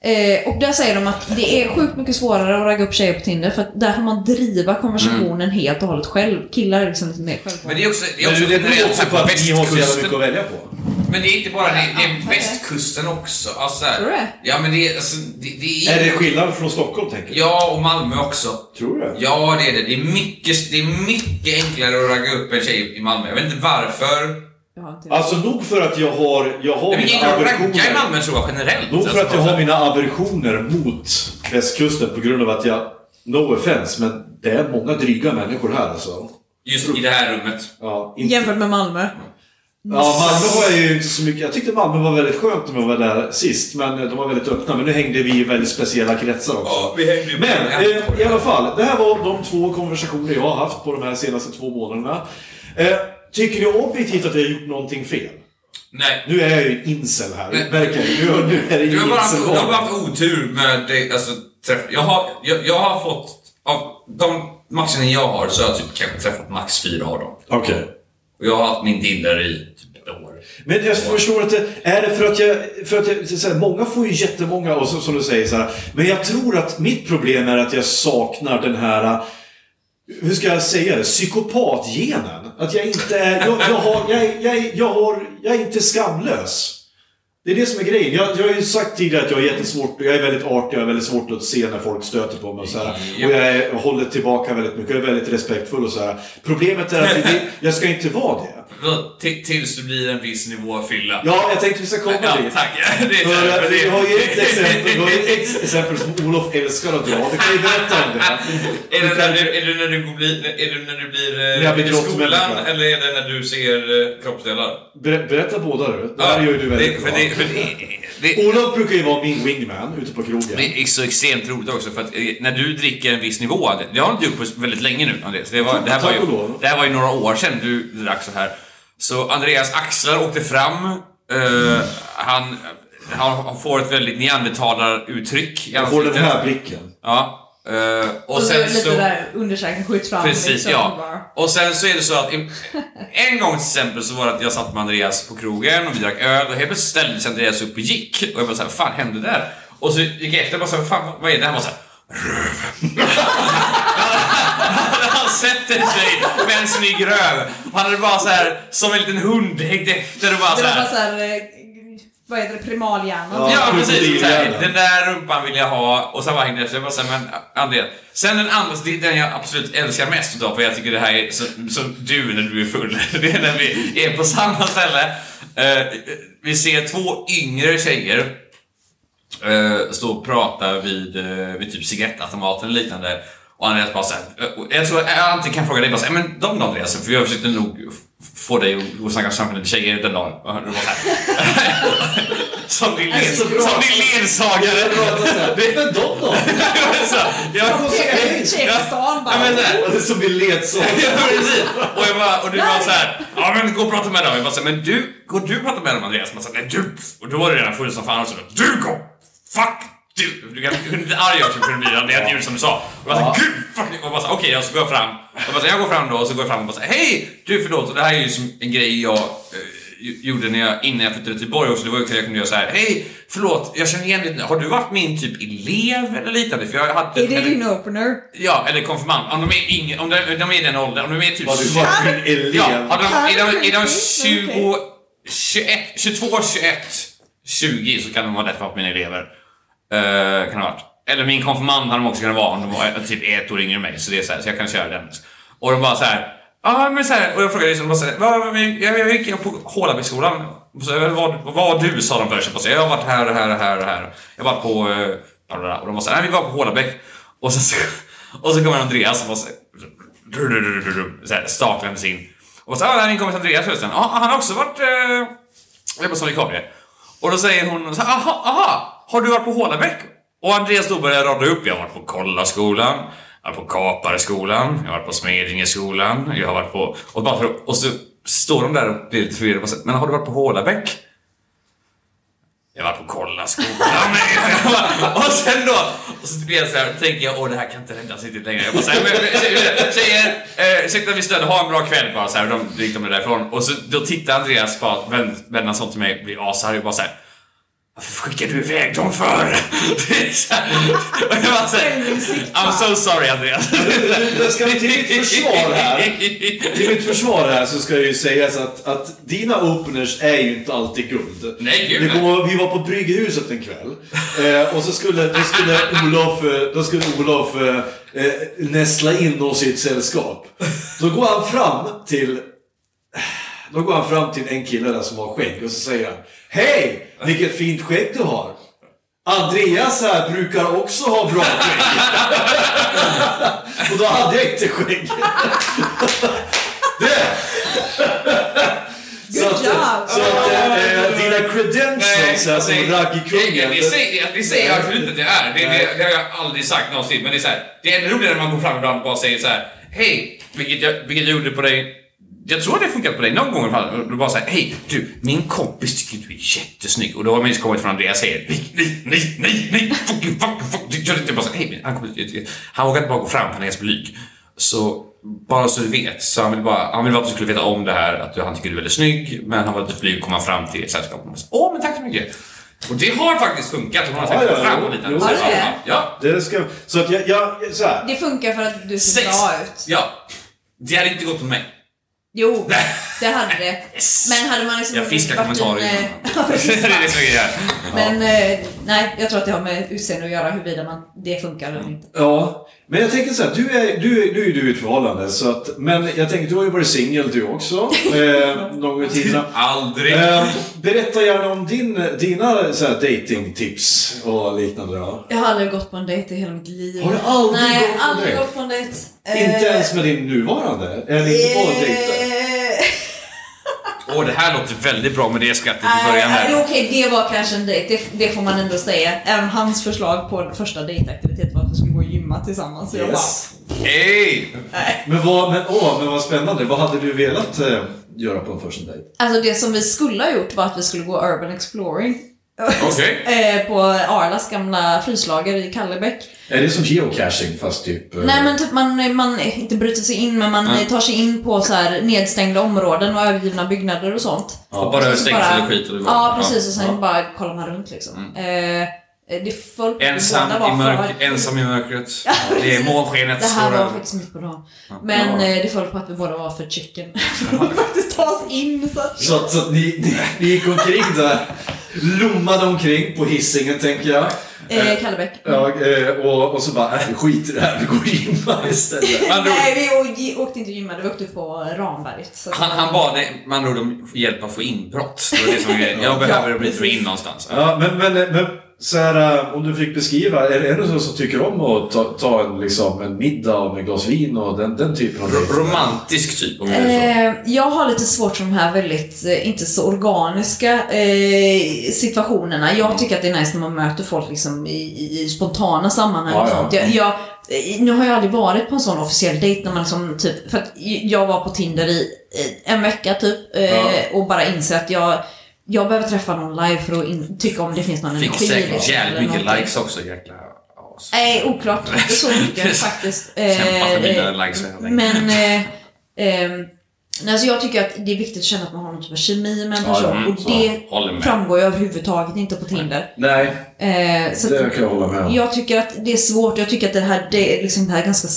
S2: Eh, och där säger de att det är sjukt mycket svårare att ragga upp tjejer på Tinder för att där får man driva konversationen helt och hållet själv. Killar är liksom lite mer självklara.
S3: Mm. Men det är också, det är
S4: Men
S3: också
S4: det beror
S3: generellt
S4: också
S3: här
S4: på
S3: på
S4: att ni har så jävla
S3: västkusten.
S4: mycket att välja på.
S3: Men det är inte bara det, det är
S2: Ja,
S3: västkusten också. Alltså, här-
S2: Tror du det?
S3: Ja, men det är... Alltså, det, det är,
S4: Är det skillnad från Stockholm, tänker du?
S3: Ja, och Malmö också.
S4: Tror du?
S3: Ja, det är det. Det är, mycket, det är mycket enklare att ragga upp en tjej i Malmö. Jag vet inte varför.
S2: Jag har inte-
S4: Alltså, nog för att jag har... Jag har
S3: Det är mycket
S4: mina
S3: enklare att ragga i
S4: aversioner...
S3: Malmö, tror jag, generellt.
S4: Nog för
S3: Alltså,
S4: att jag
S3: bara
S4: har mina aversioner mot västkusten på grund av att jag... No offense, men det är många dryga människor här alltså.
S3: Just i det här rummet.
S4: Ja, inte...
S2: Jämfört med Malmö.
S4: Ja, Malmö var jag ju inte så mycket... Jag tyckte Malmö var väldigt skönt när jag var där sist. Men eh, de var väldigt öppna. Men nu hängde vi i väldigt speciella kretsar också.
S3: Ja, vi hängde ju på
S4: Men
S3: en
S4: eh, i alla fall, det här var de två konversationer jag har haft på de här senaste två månaderna. Eh, tycker ni objektivt att jag har gjort någonting fel?
S3: Nej.
S4: Nu är jag ju en incel här.
S3: Nej.
S4: Verkligen. Nu, nu är det
S3: Du har
S4: ju
S3: bara haft, du har bara
S4: incel
S3: haft otur med det, alltså, träff... Jag har, jag, jag har fått... Av de matcherna jag har så har jag typ kanske träffat max fyra av dem.
S4: Okej.
S3: Och jag har haft min Tinder i typ ett år.
S4: Men jag förstår inte, är det för att jag... För att jag så så här, många får ju jättemånga, och så, som du säger så här, Men jag tror att mitt problem är att jag saknar den här... Hur ska jag säga det? Psykopatgenen. Att jag inte är... Jag, jag, har, jag, är- jag, är- jag, har, jag är inte skamlös. Det är det som är grejen. Jag, jag har ju sagt tidigare att jag är jättesvårt, jag är väldigt artig, jag är väldigt svårt att se när folk stöter på mig och så här. Och jag är, håller tillbaka väldigt mycket, jag är väldigt respektfull och så här. Problemet
S3: (laughs)
S4: är att det- jag ska inte vara det.
S3: Vadå, till- Tills du blir en viss nivå av fylla.
S4: Ja, jag tänkte vi ska komma
S3: Ja,
S4: dit.
S3: tack. (laughs) Det är
S4: För att
S3: det-
S4: vi har ju ett exempel, vi har ju ett exempel som Olof älskar att dra. Du kan ju berätta om
S3: (laughs)
S4: det.
S3: Är det,
S4: Du
S3: när
S4: kan-
S3: du, är, det när du blir, är det när du blir eh,
S4: När jag blir
S3: i
S4: grottmänniska.
S3: skolan eller är det när du ser eh, kroppsdelar?
S4: Ber- Berätta båda du. Det här gör ju du väldigt
S3: det,
S4: bra.
S3: för det, för det, det,
S4: Olof brukar ju vara min wingman ute på krogen.
S3: det är så extremt roligt också för att eh, när du dricker en viss nivå, det, det har inte du gjort på väldigt länge nu Andreas. Det, var, det, här var ju,
S4: Tack och lov.
S3: det här var ju några år sedan du drack så här. Så Andreas axlar åkte fram, eh, han, han får ett väldigt neandertalaruttryck i
S4: Jag får den
S3: ansiktet.
S4: här blicken.
S3: Ja. Eh, och
S2: så är det
S3: sen
S2: lite
S3: så...
S2: där undersökningen skjuts fram.
S3: Precis,
S2: liksom, och
S3: ja. Alltså
S2: bara-
S3: Och sen så är det så att i- en gång till exempel så var det att jag satt med Andreas på krogen och vi drack öl och helt plötsligt ställde sig Andreas upp och gick. Och jag bara såhär, vad fan hände där? Och så gick jag efter och bara såhär, fan vad är det? Han var såhär, röv. (laughs) Han sätter sig med en snygg röv. Och han hade bara såhär, som en liten hund, hängt efter och bara
S2: Det var bara
S3: såhär.
S2: såhär, eh, vad heter det, primalhjärnan.
S4: Ja.
S3: Ja precis,
S4: krokodil
S3: såhär,
S4: gärna.
S3: den där rumpan vill jag ha och sen bara hängde jag efter. Jag bara såhär, men Andreas. Sen den andra, det är den jag absolut älskar mest utav för jag tycker det här är som, som du när du är full. (laughs) Det är när vi är på samma ställe. Eh, vi ser två yngre tjejer eh, stå och prata vid, eh, vid typ cigarettautomaten eller liknande. Och Andreas bara såhär, eh, jag tror jag antingen kan fråga dig bara såhär, men de då Andreas, för jag försökte nog f- få dig att- att snacka samman med tjejer den dagen. Och du bara så här. (laughs) som din, led,
S4: så bra.
S3: som din ledsagare. (laughs)
S4: Det är de då?
S3: Så, jag-
S2: Tjeckstan bara.
S3: Ja, men, eh,
S4: Det som blir ledsagare.
S3: Ja, (laughs) precis. Och, jag bara, och du var såhär, ja men gå och prata med dem. Jag bara såhär, men du, går du och pratar med dem Andreas? Man sa, nej du. Och då var du redan full som fan och så, du gå! Fuck! Du! Du kan- du kunde bli arg också, kunde bli det är ett djur som du sa. Och jag bara, gud fuck! Och jag bara, så, okej, jag ska gå fram. Jag bara, så, jag går fram då och så går jag fram och bara, så, hej! Du förlåt, och det här är ju som en grej jag eh, ju- gjorde när jag, innan jag flyttade till Borg också, det var ju att jag kunde göra så här. Hej! Förlåt, jag känner igen dig nu. Har du varit min typ elev eller liknande? För jag hade...
S2: Är det din opener?
S3: Ja, eller konfirmand. Om de är, ing, om de, om de är i den åldern, om de är typ...
S4: Har du varit min elev?
S3: ja, har de,
S2: Fan,
S3: är de, är de
S2: okej,
S3: 20, 21, 22, 21, 20 så kan de vara lätt varit mina elever. Eh, kan det ha varit. Eller min konfirmand hade de också kunnat vara om de var eh, typ ett år yngre än mig. Så det är så, här, så jag kan köra den. Och de bara så här. Ja, men så här, och jag frågade liksom, bara så här, "Vad- vad- jag, jag gick på Hålabergsskolan. Och så, "Vad- Vad vad du? sa de först. Jag bara så här, Jag har varit här och här och här och här. Jag var på... eh, bla, bla, bla." Och de bara så här, nej vi var på Hålabäck. Och sen så, och så kommer Andreas och bara så här, så här staklandes in. Och så, "Ah, ja, där inkommer Andreas förresten. Ja, han har också varit... Eh, jag bara som vikarie. Och då säger hon så här, aha, aha, har du varit på Hålabäck? Och Andreas då börjar rada upp, jag har varit på Kollaskolan, jag har varit på Kapareskolan, jag har varit på Smedingeskolan, jag har varit på... Och, bara för, och så står de där och blir lite förvirrade och bara så här, men har du varit på Hålabäck? Jag har varit på Kollaskolan. och sen då, och så blir jag så här, tänker jag, åh det här kan inte räddas riktigt längre. Jag bara så här, men, men, tjejer, eh, ursäkta vi störde, ha en bra kväll bara så här. Och de, då gick de därifrån. Och så, då tittar Andreas bara, vän- vändan sånt till mig, blir asarg och bara så här. Varför skickar du iväg dem för? Det är så här- och jag bara så här, I'm so sorry Andreas.
S4: Jag ska till mitt försvar här. Till mitt försvar här så ska jag ju sägas att, att dina openers är ju inte alltid guld.
S3: Nej, gud,
S4: Vi,
S3: nej.
S4: kommer, vi var på Brygghuset en kväll. Eh, och så skulle, då skulle Olof, eh, då skulle Olof eh, eh, nästla in oss i ett sällskap. Då går han fram till då går han fram till en kille där som har skägg och så säger han Hej! Vilket fint skägg du har! Andreas här brukar också ha bra skägg. och då hade jag inte skägg. det! så att,
S2: job.
S4: så att äh, dina
S3: Nej,
S4: credentials här som
S3: det-
S4: raggarkungen.
S3: Det, det, säger- det säger jag absolut inte att jag är. Det, det, det har jag aldrig sagt någonsin. Men det är, så här, det är ännu roligare när man går fram ibland och bara säger så här. Hej, vilket jag, vilket jag gjorde på dig. Jag tror det funkat på dig någon gång i alla fall. Och Du bara säger hej du, min kompis tycker att du är jättesnygg. Och då har man just kommit från Andreas och säger nej, nej, nej, nej, nej, fuck you, fuck you, fuck you. Gör inte bara så här, hej, min- han, kommer, han vågar inte bara gå fram, han är ganska blyg. Så bara så du vet, så han vill bara, han vill bara att du skulle veta om det här, att du, han tycker du är väldigt snygg, men han var lite blyg, komma fram till sällskapet och bara, åh men tack så mycket. Och det har faktiskt funkat, hon har
S4: Ja,
S3: sagt
S4: ja,
S3: fram
S4: jo,
S3: och lite.
S4: jo.
S3: Så,
S2: Har det?
S3: ja, ja.
S4: Det ska, så att jag, jag så här.
S2: Det funkar för att du ser
S3: Sex.
S2: bra ut.
S3: Ja. Det hade inte gått på mig.
S2: Jo, det hade det. Men hade man liksom...
S3: Jag fiskar
S2: varit
S3: kommentarer
S2: en, eh, (laughs)
S3: (laughs) innan.
S2: Ja, precis.
S3: det är det som jag gör.
S2: Men eh, nej, jag tror att det har med utseende att göra, huruvida man, det funkar eller inte.
S4: Ja, men jag tänker så här, du är, du, är- du är du i ett förhållande, så att, men jag tänker, du har ju varit singel du också, eh, någon gång i tiden.
S3: Aldrig.
S4: Eh, berätta gärna om din, dina så här, datingtips och liknande. Ja.
S2: Jag har aldrig gått på en dejt i hela mitt liv.
S4: Har du aldrig
S2: nej,
S4: gått på en
S2: aldrig
S4: dejt?
S2: gått på en dejt?
S4: Inte ens med din nuvarande? Eller inte bara dejter?
S2: Eh.
S3: Åh, det här låter väldigt bra med det skrattet i början
S2: Nej,
S3: här.
S2: Eh, okej, det var kanske en dejt. Det, det får man ändå säga. Även hans förslag på första dejtaktivitet var att vi skulle gå och gymma tillsammans. Så jag
S4: Yes.
S3: Hej!
S4: Men vad, men, åh, men vad spännande, vad hade du velat eh, göra på en första dejt?
S2: bara, alltså det som vi skulle ha gjort var att vi skulle gå urban exploring.
S3: Okej.
S2: Eh, på Arlas gamla fryslager i Kallebäck.
S3: Mm.
S4: Är det som geocaching fast typ... eh,
S2: Nej men typ man, man eh, inte bryter sig in men man
S3: Mm.
S2: eh, tar sig in på så här nedstängda områden och övergivna byggnader och sånt.
S3: Och bara över stängsel och skit. Och det var-
S2: Ja precis och sen
S3: ja. Mm.
S2: bara kollar man runt liksom. Eh, det föll på
S3: Ensam
S2: båda var
S3: i, mörk,
S2: för-
S3: ensam i mörkret.
S2: Ja,
S3: det är
S2: precis.
S3: månskenet
S2: Det här
S3: slår
S2: var
S3: över.
S2: faktiskt mitt på dagen. Men
S4: Ja.
S2: eh, det föll på att vi båda var för chicken. (laughs) För att faktiskt ta oss in så att...
S4: Så, att- så att ni, ni, ni gick omkring där. Lommade omkring på hissingen tänker jag.
S2: Eh, Kallebäck.
S4: Ja, eh, och, och så bara, äh, skit i det här, vi går in här istället.
S3: Andra ord-
S2: Nej, vi å- gi- åkte inte och gymmade. Vi åkte på Ramberget. Så att-
S3: Han, han bad dig, med andra ord om hjälp att få inbrott. Det var det som var grejen. Jag behöver
S2: Ja,
S3: bryta mig
S2: precis.
S3: in någonstans.
S4: Ja, men, men, eh, men så här, eh, om du fick beskriva, är, är det så som tycker om att ta, ta en, liksom, en middag och med glas vin och den, den typen av
S3: R-
S4: grejer?
S3: romantisk typ, om jag säger så.
S2: Eh, jag har lite svårt för de här väldigt, eh, inte så organiska eh, situationerna.
S3: Mm.
S2: Jag tycker att det är nice när man möter folk liksom i, i, i spontana sammanhang och
S4: Ja, ja.
S2: sånt.
S3: Mm.
S2: Jag, jag, eh, nu har jag aldrig varit på en sån officiell dejt när man liksom typ, för att jag var på Tinder i eh, en vecka typ eh,
S4: Ja.
S2: och bara inser att jag, jag behöver träffa någon live för att in, tycka om det finns någon
S3: Fick
S2: energi.
S3: säkert
S2: liksom, eller
S3: jävligt mycket
S2: någonting.
S3: likes också, jäkla as.
S2: Nej, oklart. Inte så
S3: (laughs)
S2: mycket faktiskt.
S3: Kämpa för mina
S2: Eh,
S3: likes helt enkelt.
S2: Men... Eh, ehm, nej, alltså jag tycker att det är viktigt att känna att man har någon typ av kemi med en
S4: Ja,
S2: person.
S4: mm,
S2: och
S4: så.
S2: det
S3: Håller med.
S2: framgår ju överhuvudtaget inte på Tinder.
S4: Nej,
S2: Eh, så
S4: det
S2: att,
S4: kan jag hålla med om.
S2: jag tycker att det är svårt. Jag tycker att det här, det, är liksom det här ganska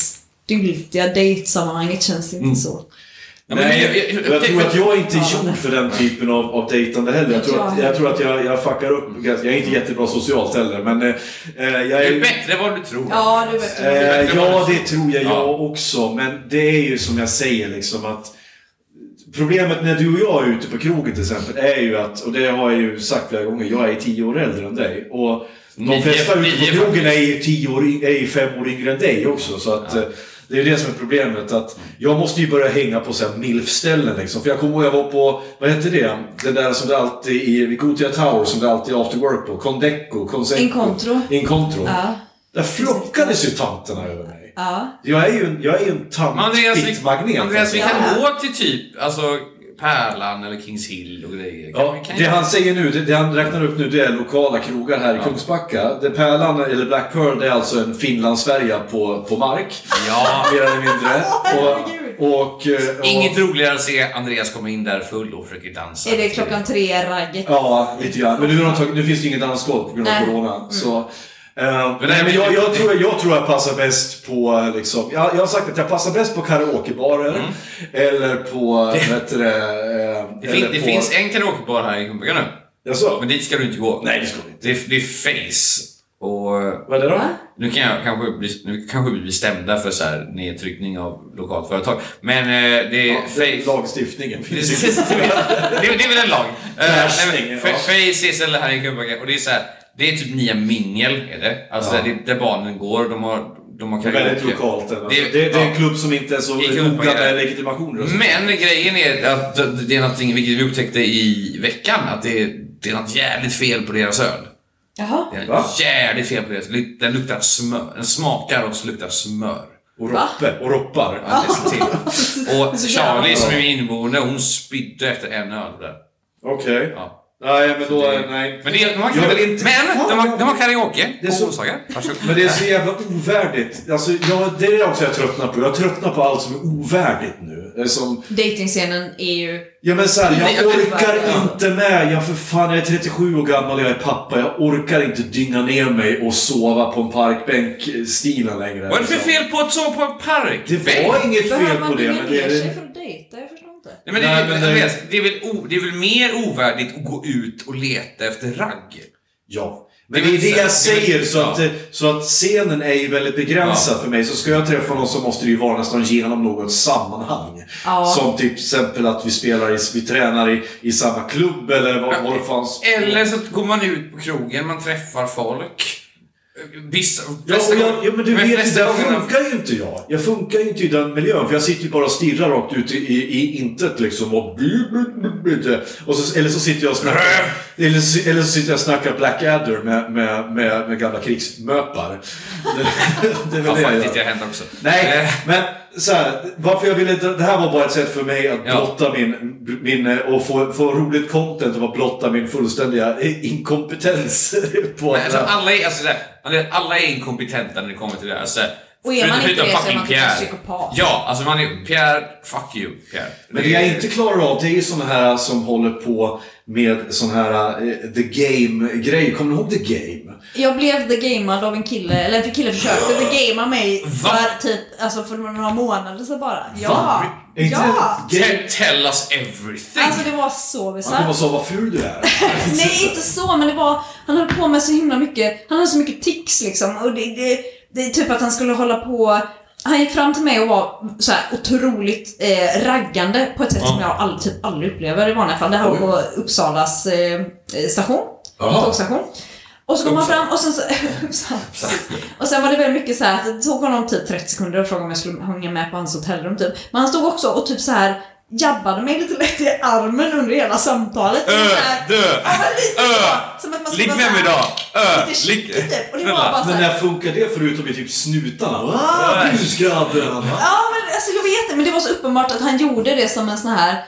S2: styltiga dejtsammanhanget känns
S4: Mm.
S2: inte så.
S3: Ja, men
S4: Nej,
S3: jag- jag-
S4: jag,
S3: jag-
S4: tror att jag inte
S2: Ja.
S4: är gjord för den typen av, av dejtande heller. Jag tror att jag, tror att jag, jag fuckar upp. Jag är inte jättebra socialt heller, men eh, eh, jag
S3: Det är
S4: är...
S3: bättre än vad du tror.
S2: Ja, du vet.
S4: Eh, ja, det tror jag,
S3: Ja.
S4: jag också. Men det är ju som jag säger liksom att Problemet när du och jag är ute på krogen till exempel är ju att, och det har jag ju sagt flera gånger, jag är tio år äldre än dig. Och
S3: Nio-
S4: de flesta ute
S3: nio
S4: på krogen är
S3: faktiskt.
S4: ju, tio år, i- är ju fem år yngre än dig också. Så att, eh, Det är ju det som är problemet. Att jag måste ju börja hänga på så här milfställen. Liksom. För jag kommer ihåg jag var på, vad hette det? Det där som det alltid är, vid Gothia Tower som det alltid är after work på. Condeco, Conseco.
S2: Incontro.
S4: Incontro.
S2: Ja,
S4: Där flockades ju tanterna över mig.
S2: ja.
S4: Jag är ju en, jag är ju en
S3: Men Andreas, vi,
S4: tantfittmagnet.
S3: Andreas, vi
S4: alltså.
S3: kan
S2: Ja.
S3: gå till typ alltså, Pärlan eller Kings Hill och grejer. Kan,
S4: Ja,
S3: vi- kan
S4: det han säger nu, det, det han räknar upp nu, det är lokala krogar här i Kungsbacka. Det Pärlan, eller Black Pearl, det är alltså en Finlandsfärja på, på mark. (laughs)
S3: ja.
S4: Mer eller mindre.
S2: (laughs) herregud.
S4: Och, och, eh, och,
S3: Inget roligare att se Andreas komma in där full och försöker dansa.
S2: Är det klockan tre-ragget?
S4: Ja, lite grann. Men nu, har de tagit, nu finns det ju inget dansgolv på grund av
S2: Nej. Mm.
S4: corona. Så, eh,
S3: det
S4: nej,
S3: är-
S4: men jag, jag, tror, jag tror jag passar bäst på, eh, liksom, jag, jag har sagt att jag passar bäst på karaokebarer. Eller på, vad heter det? eh,
S3: Mm. Det,
S4: eller
S3: fin, det
S4: på-
S3: finns en karaokebar här i Kungsbacka nu.
S4: Jaså?
S3: Men dit ska du inte gå.
S4: Nej, det ska vi inte.
S3: Det, är- det är Face. Och
S4: Vad är det då?
S2: Va?
S3: nu, kan jag, kanske bli, nu kanske vi blir stämda för så här nedtryckning av lokalt företag. Men eh, det är
S4: Ja, det-
S3: Face.
S4: Lagstiftningen finns
S3: (laughs)
S4: ju.
S3: Precis, det, är- det, är- det är väl en lag. Eh, nej, men
S4: stänger,
S3: Fa-
S4: ja.
S3: Face is eller här i Kungsbacka och det är så här, det är typ Nia Mingel är det. Alltså
S4: Ja.
S3: det, där barnen går, de har, de har
S4: Det är väldigt
S3: karaoke.
S4: lokalt. ändå.
S3: Det-
S4: Det,
S3: ja.
S4: det, är en klubb som inte är så
S3: Det är klubb, ja.
S4: noga med legitimationer och så.
S3: Men grejen är att det är någonting, vilket vi upptäckte i veckan, att det är, det är något jävligt fel på deras öl.
S2: Jaha.
S3: Det är
S4: Va?
S3: jävligt fel på deras Den luktar smör. Den smakar och så luktar smör.
S4: Och roppe, och roppar.
S3: Ja, det ser till. Och
S2: (laughs) Det är så jävla
S3: Charlie
S2: bra.
S3: som är inneboende, hon spydde efter en öl där.
S4: Okej.
S3: Ja.
S4: Nej, men då...
S3: Det-
S4: Nej.
S3: Men, det, de har,
S4: Jag vill inte-
S3: men de, har, de har karaoke
S4: Det är
S3: på
S4: så-
S3: onsdagar. Varsågod.
S4: Men det är så jävla ovärdigt. Alltså, jag, det är det också jag tröttnar på. Jag tröttnar på allt som är ovärdigt nu. Det är som,
S2: Dejtingscenen är ju...
S4: ja men så här,
S3: Nej,
S4: jag
S3: jag vet
S4: orkar
S2: vad- ja.
S4: inte med. Jag för fan, jag är 37 år gammal, jag är pappa. Jag orkar inte dynga ner mig och sova på en parkbänk-stilen längre.
S3: Vad är det för
S4: liksom.
S3: fel på att sova på en park?
S4: Det var inget fel
S2: Behöver man
S4: på det,
S2: bjuda
S4: men det
S2: ner
S4: är...
S2: sig för att dejta? Jag förstår inte.
S3: Nej, men det, är
S4: Nej,
S3: väl-
S4: men det-
S3: Andreas, det, är väl o, det är väl mer ovärdigt att gå ut och leta efter ragg?
S4: Ja.
S3: Det är
S4: Men det är
S3: väl
S4: det jag
S3: så- det är väl-
S4: säger, så
S3: ja.
S4: att, eh, så att scenen är ju väldigt begränsad för mig. Så ska jag träffa någon så måste det ju vara nästan genom något sammanhang.
S2: Ja.
S4: Som till exempel att vi spelar i, vi tränar i, i samma klubb eller vad, vad det fanns.
S3: Eller så går man ut på krogen, man träffar folk. Vissa,
S4: Ja,
S3: flesta
S4: och jag,
S3: gånger-
S4: ja, men du
S3: men
S4: vet,
S3: flesta
S4: där
S3: gångerna-
S4: funkar ju inte jag. Jag funkar ju inte i den miljön, för jag sitter ju bara och stirrar rakt ut i, i, i intet liksom. Och och så, eller så sitter jag och snackar, eller, så- eller så sitter jag och snackar Blackadder med, med, med, med gamla krigsmöpar. Det, det är väl
S3: Ja,
S4: det (laughs) jag
S3: faktiskt,
S4: gör.
S3: det har hänt också.
S4: Nej,
S3: Eh,
S4: men så här, varför jag ville, det här var bara ett sätt för mig att
S3: Ja.
S4: blotta min, min eh, och få, få roligt content och att blotta min fullständiga eh, inkompetens. (laughs) På
S3: Men
S4: att-
S3: alltså, alla, är, alltså, så här, alla är inkompetenta när det kommer till det här. Så, här,
S2: Och är man
S3: förutom-
S2: inte det
S3: förutom
S2: så är man typ
S3: fucking
S2: en
S3: Pierre.
S2: psykopat.
S3: Ja, alltså man är... Pierre, fuck you, Pierre.
S4: Men det jag inte klarar av, det är ju såna här som håller på med sån här eh, the game-grej. Kommer ni ihåg the game?
S2: Jag blev the gamad av en kille, eller en kille försökte the gamea mig
S3: Va?
S2: för typ, alltså för några månader sedan bara. Ja!
S4: Är inte
S2: Ja!
S4: det game?
S3: Te- Tell us everything!
S2: Alltså det var så
S4: Man kommer
S2: bisarrt.
S4: och sa vad ful du
S3: (laughs)
S4: är.
S2: Nej inte så, men det var, han höll på med så himla mycket, han hade så mycket tics liksom. Och det, det, det är typ att han skulle hålla på, han gick fram till mig och var så här otroligt eh, raggande på ett sätt som jag all, typ aldrig upplever i vanliga fall. Det här var på Uppsalas eh, station,
S4: Jaha.
S2: tågstation. Och så kom han fram och sen så, (laughs) Uppsala. Och sen var det väldigt mycket så här att det tog honom typ 30 sekunder och frågade om jag skulle hänga med på hans hotellrum typ. Men han stod också och typ så här jabbade mig lite lätt i armen under hela samtalet.
S3: Ö,
S2: Så här-
S3: dö,
S2: Ja, men lite
S3: ö,
S2: så. Som att man ska
S3: Ligg
S2: vara
S3: med
S2: så
S3: mig
S2: här-
S3: idag! Ö,
S2: Lite
S3: ligg...
S2: chicky typ. Och det var
S3: Snälla.
S2: bara så
S4: Men
S2: här,
S4: när funkar det förutom i typ snutarna? Ah, busgrabben!
S2: Ja men alltså jag vet inte, men det var så uppenbart att han gjorde det som en sån här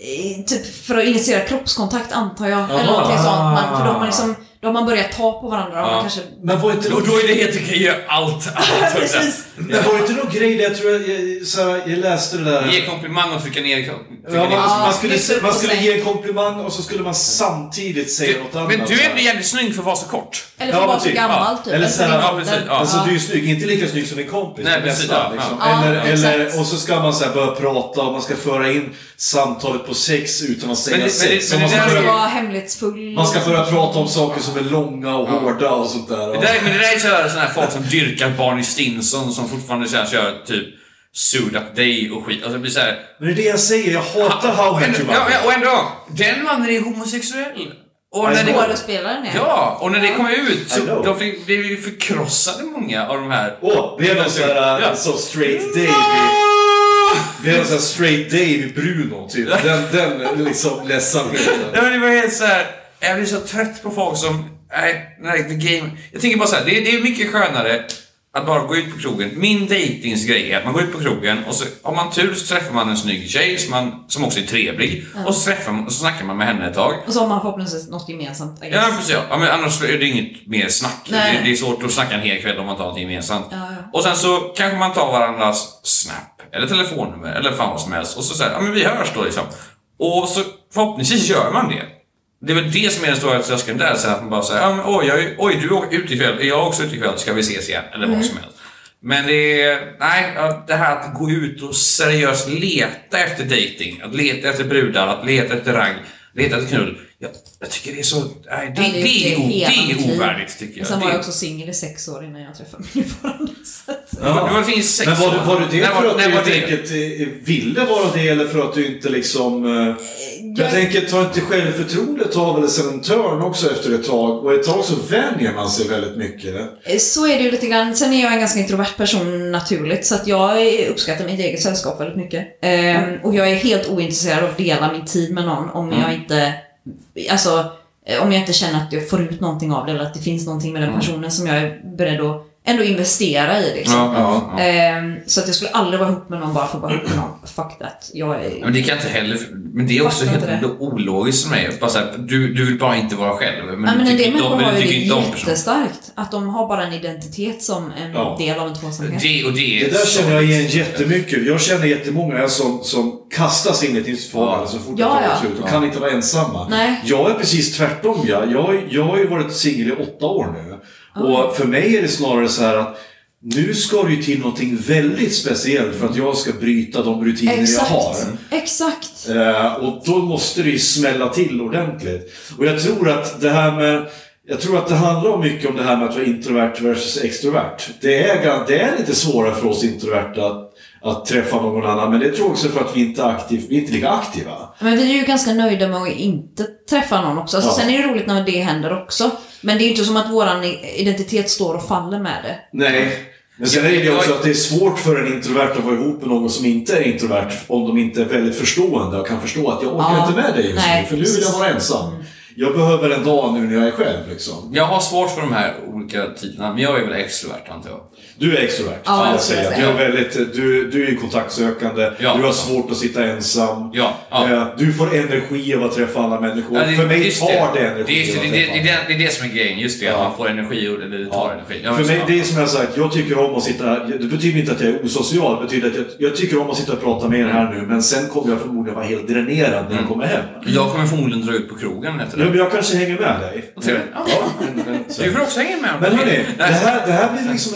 S2: eh, Typ för att initiera kroppskontakt antar jag. Eller någonting sånt. Man, för då har
S3: Ah.
S2: man liksom då har man börjat ta på varandra och man
S3: (laughs)
S2: kanske...
S4: Men var inte
S3: Och då är det helt okej att göra allt
S2: (laughs)
S3: annat.
S2: Precis.
S4: Men var det inte någon grej där jag tror jag, jag, så här, jag läste det där...
S3: Ge komplimang och trycka ner... Trycka
S4: Ja,
S3: ner.
S4: man, man, skulle,
S2: lyfta upp
S4: man
S2: och
S4: skulle
S2: säg.
S4: ge en komplimang och så skulle man samtidigt säga något annat.
S3: Men du är ändå
S4: så här.
S3: jävligt snygg för att vara så kort.
S2: Eller för att
S4: Ja,
S2: vara så
S4: precis.
S2: gammal typ.
S4: Eller så här-
S2: för din
S4: ja,
S2: ålder.
S3: precis. Ja.
S4: Alltså du är snygg, inte lika snygg som din kompis.
S3: Nej,
S4: men
S3: precis,
S4: nästan,
S3: ja,
S4: liksom.
S2: ja.
S4: eller,
S2: Ja, exakt.
S4: eller, och så ska man så här börja prata och man ska föra in samtalet på sex utan att säga
S3: Men det- men det-
S4: sex.
S3: men
S4: Och
S3: det
S4: man,
S2: Man
S3: där
S4: ska
S2: ska
S3: är-
S4: börja,
S2: vara hemlighetsfull.
S4: man ska börja prata om saker som är långa och hårda och sånt där.
S3: Det
S4: Och,
S3: där, men det där är sådana såna här folk som dyrkar Barney Stinson som fortfarande så här, kör typ Suit Up Day och skit. Alltså det blir såhär...
S4: men det är det jag säger, jag hatar How I Met Your
S3: Ja,
S4: Mother.
S3: ja, och ändå! Den mannen är homosexuell! Och
S4: Ja,
S3: när det,
S2: Skådespelaren är.
S3: ja, och när det kom ut så
S4: I know.
S3: de fick, blev ju förkrossade många av de här...
S4: Åh, blev en sån här
S3: Ja.
S4: ja. så straight Dave i- blev en sån här straight Dave i Bruno typ. Den, den liksom ledsamheten.
S3: Ja, men det var helt så här. Jag blir så trött på folk som... Nej, nej, the game. Jag tänker bara så här, det, det är mycket skönare att bara gå ut på krogen. Min dejtingsgrej är att man går ut på krogen och så har man tur så träffar man en snygg tjej som, man, som också är trevlig. Och så, träffar man, och så snackar man med henne ett tag.
S2: Och så har man förhoppningsvis något gemensamt. I guess.
S3: Ja, precis. Ja. Ja, men annars är det inget mer snack. Det,
S2: Nej.
S3: det är svårt att snacka en hel kväll om man tar något gemensamt.
S2: Ja, ja.
S3: Och sen så kanske man tar varandras Snap eller telefonnummer eller fan vad som helst och så säger ja men vi hörs då liksom. Och så förhoppningsvis gör man det. Det är väl det som är den stora tröskeln där sen att man bara säger ja men oj, jag, är- oj du är ute ikväll, är jag också ute ikväll, ska vi ses igen? Eller
S2: Mm.
S3: vad som helst. Men det är, nej, ja, det här att gå ut och seriöst leta efter dating, att leta efter brudar, att leta efter rang, leta efter knull. Jag, jag tycker det är så, nej, det,
S2: Jag hade
S3: det,
S2: gjort
S3: är, o-
S2: hela
S3: det
S2: mitt
S3: är
S2: liv.
S3: ovärdigt tycker jag.
S2: Sen var
S3: Det-
S2: jag också singel i sex år innan jag träffade min (laughs) nuvarande. så att-
S3: Ja. Det var finns sex
S4: Men var, det- var det det
S3: När
S4: för att
S3: när
S4: du
S3: var
S4: helt
S3: det?
S4: enkelt eh, ville vara det eller för att du inte liksom... eh, Jag,
S2: jag-
S4: tänker, tar inte självförtroendet av eller sen en törn också efter ett tag? Och ett tag så vänjer man sig väldigt mycket.
S2: Eh, Så är det ju lite grann. Sen är jag en ganska introvert person naturligt, så att jag uppskattar mitt eget sällskap väldigt mycket. Ehm,
S3: Mm.
S2: Och jag är helt ointresserad av att dela min tid med någon om jag inte... Alltså, eh, om jag inte känner att jag får ut någonting av det eller att det finns någonting med den
S3: Mm.
S2: personen som jag är beredd att ändå investera i. Liksom.
S3: Ja, ja, ja.
S2: Ehm, så att jag skulle aldrig vara ihop med någon bara för att vara ihop med någon. Fuck that. Jag är...
S3: Men det kan jag inte heller... Men det är också
S2: Fattar
S3: helt
S2: inte det.
S3: ologiskt för mig. Bara så här, du, du vill bara inte vara själv. Men,
S2: Ja, men
S3: du
S2: en
S3: tycker
S2: del
S3: inte om,
S2: människor
S3: men
S2: har
S3: du
S2: ju det
S3: tycker inte om personen.
S2: jättestarkt. Att de har bara en identitet som en
S4: Ja.
S2: del av en tvåsamhet.
S3: Det, och det, är
S4: Det där
S3: så-
S4: känner jag igen jättemycket. Jag känner jättemånga som, som kastas in i ett nytt förhållande så fort
S2: Ja,
S4: det tar
S2: ja.
S4: slut och kan inte vara ensamma.
S2: Nej.
S4: Jag är precis tvärtom. Jag, jag, jag har ju varit singel i åtta år nu. Och för mig är det snarare så här att nu ska det ju till någonting väldigt speciellt för att jag ska bryta de rutiner
S2: Exakt.
S4: jag har.
S2: Exakt.
S4: Eh, och då måste det ju smälla till ordentligt. Och jag tror att det här med... Jag tror att det handlar mycket om det här med att vara introvert versus extrovert. Det är, gan- det är lite svårare för oss introverta att, att träffa någon annan, men det tror jag också för att vi inte är, aktiv, vi är inte lika aktiva.
S2: Men vi är ju ganska nöjda med att inte träffa någon också. Alltså,
S4: Ja.
S2: Sen är det roligt när det händer också. Men det är ju inte som att våran identitet står och faller med det.
S4: Nej. Men sen är det ju också att det är svårt för en introvert att vara ihop med någon som inte är introvert om de inte är väldigt förstående och kan förstå att jag orkar
S2: Ja.
S4: inte med dig just
S2: Nej,
S4: nu för nu vill jag
S2: precis.
S4: vara ensam. Jag behöver en dag nu när jag är själv liksom.
S3: Jag har svårt för de här olika titlarna, men jag är väl extrovert antar jag.
S4: Du är extrovert,
S2: Ja,
S4: skulle
S2: det
S4: jag
S2: skulle jag
S4: säga. Du
S2: säga.
S4: är, väldigt, du, du är ju kontaktsökande,
S3: Ja.
S4: du har svårt att sitta ensam.
S3: Ja, ja.
S4: Eh, Du får energi av att träffa alla människor.
S3: Ja,
S4: För mig
S3: just
S4: tar det, energi
S3: Det, är just det,
S4: att
S3: det,
S4: träffa
S3: det,
S4: alla.
S3: det, det är det som är grejen, just det. Att
S4: Ja.
S3: man får energi, och- eller det tar energi. Ja,
S4: För
S3: men
S4: mig,
S3: så-
S4: det är som jag sagt, jag tycker om att sitta... Det betyder inte att jag är osocial, det betyder att jag, jag tycker om att sitta och prata med er här nu, men sen kommer jag förmodligen vara helt dränerad när
S3: Mm.
S4: jag kommer hem.
S3: Jag kommer förmodligen dra ut på krogen efter
S4: Ja,
S3: det.
S4: men jag kanske hänger med dig.
S3: Vad trevligt. Ja. (laughs) Du får också hänga med. om
S4: Men
S3: du
S4: hörni,
S3: vill.
S4: det här, det här blir liksom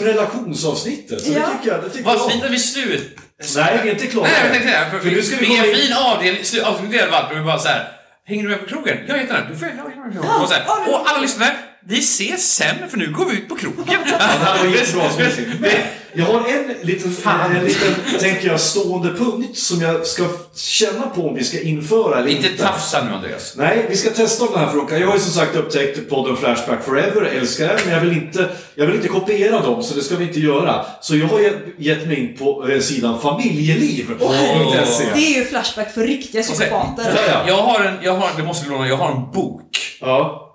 S4: relationsavsnittet. Så
S2: Ja.
S4: det tycker jag, det tycker jag.
S3: Vad
S4: om.
S3: fint att vi slut...
S4: Nej, vi är inte klara.
S3: Nej, jag tänkte det. Här, för
S4: För nu ska vi
S3: vi är
S4: komma
S3: en
S4: in-
S3: fin avdelning, slu- avslutning där Valter, och vi bara så här. Hänger du med på krogen? Jag heter den. Du får hänga med på krogen. Och, så här, och alla lyssnare, vi ses sen för nu går vi ut på krogen.
S4: Det här var jättebra avslutning. Men Jag har en liten, en liten tänker jag, stående punkt som jag ska känna på om vi ska införa
S3: (laughs)
S4: eller
S3: Inte tafsa nu Andreas.
S4: Nej, vi ska testa om den här funkar. Jag har ju som sagt upptäckt podden Flashback Forever, älskar den, men jag vill, inte, jag vill inte kopiera dem, så det ska vi inte göra. Så jag har ge- gett mig in på eh, sidan familjeliv.se.
S2: Det är ju Flashback för riktiga
S3: Och så här,
S2: psykopater.
S4: ja.
S3: Jag har en, jag har, det måste vi låna, jag har en bok
S4: Ja,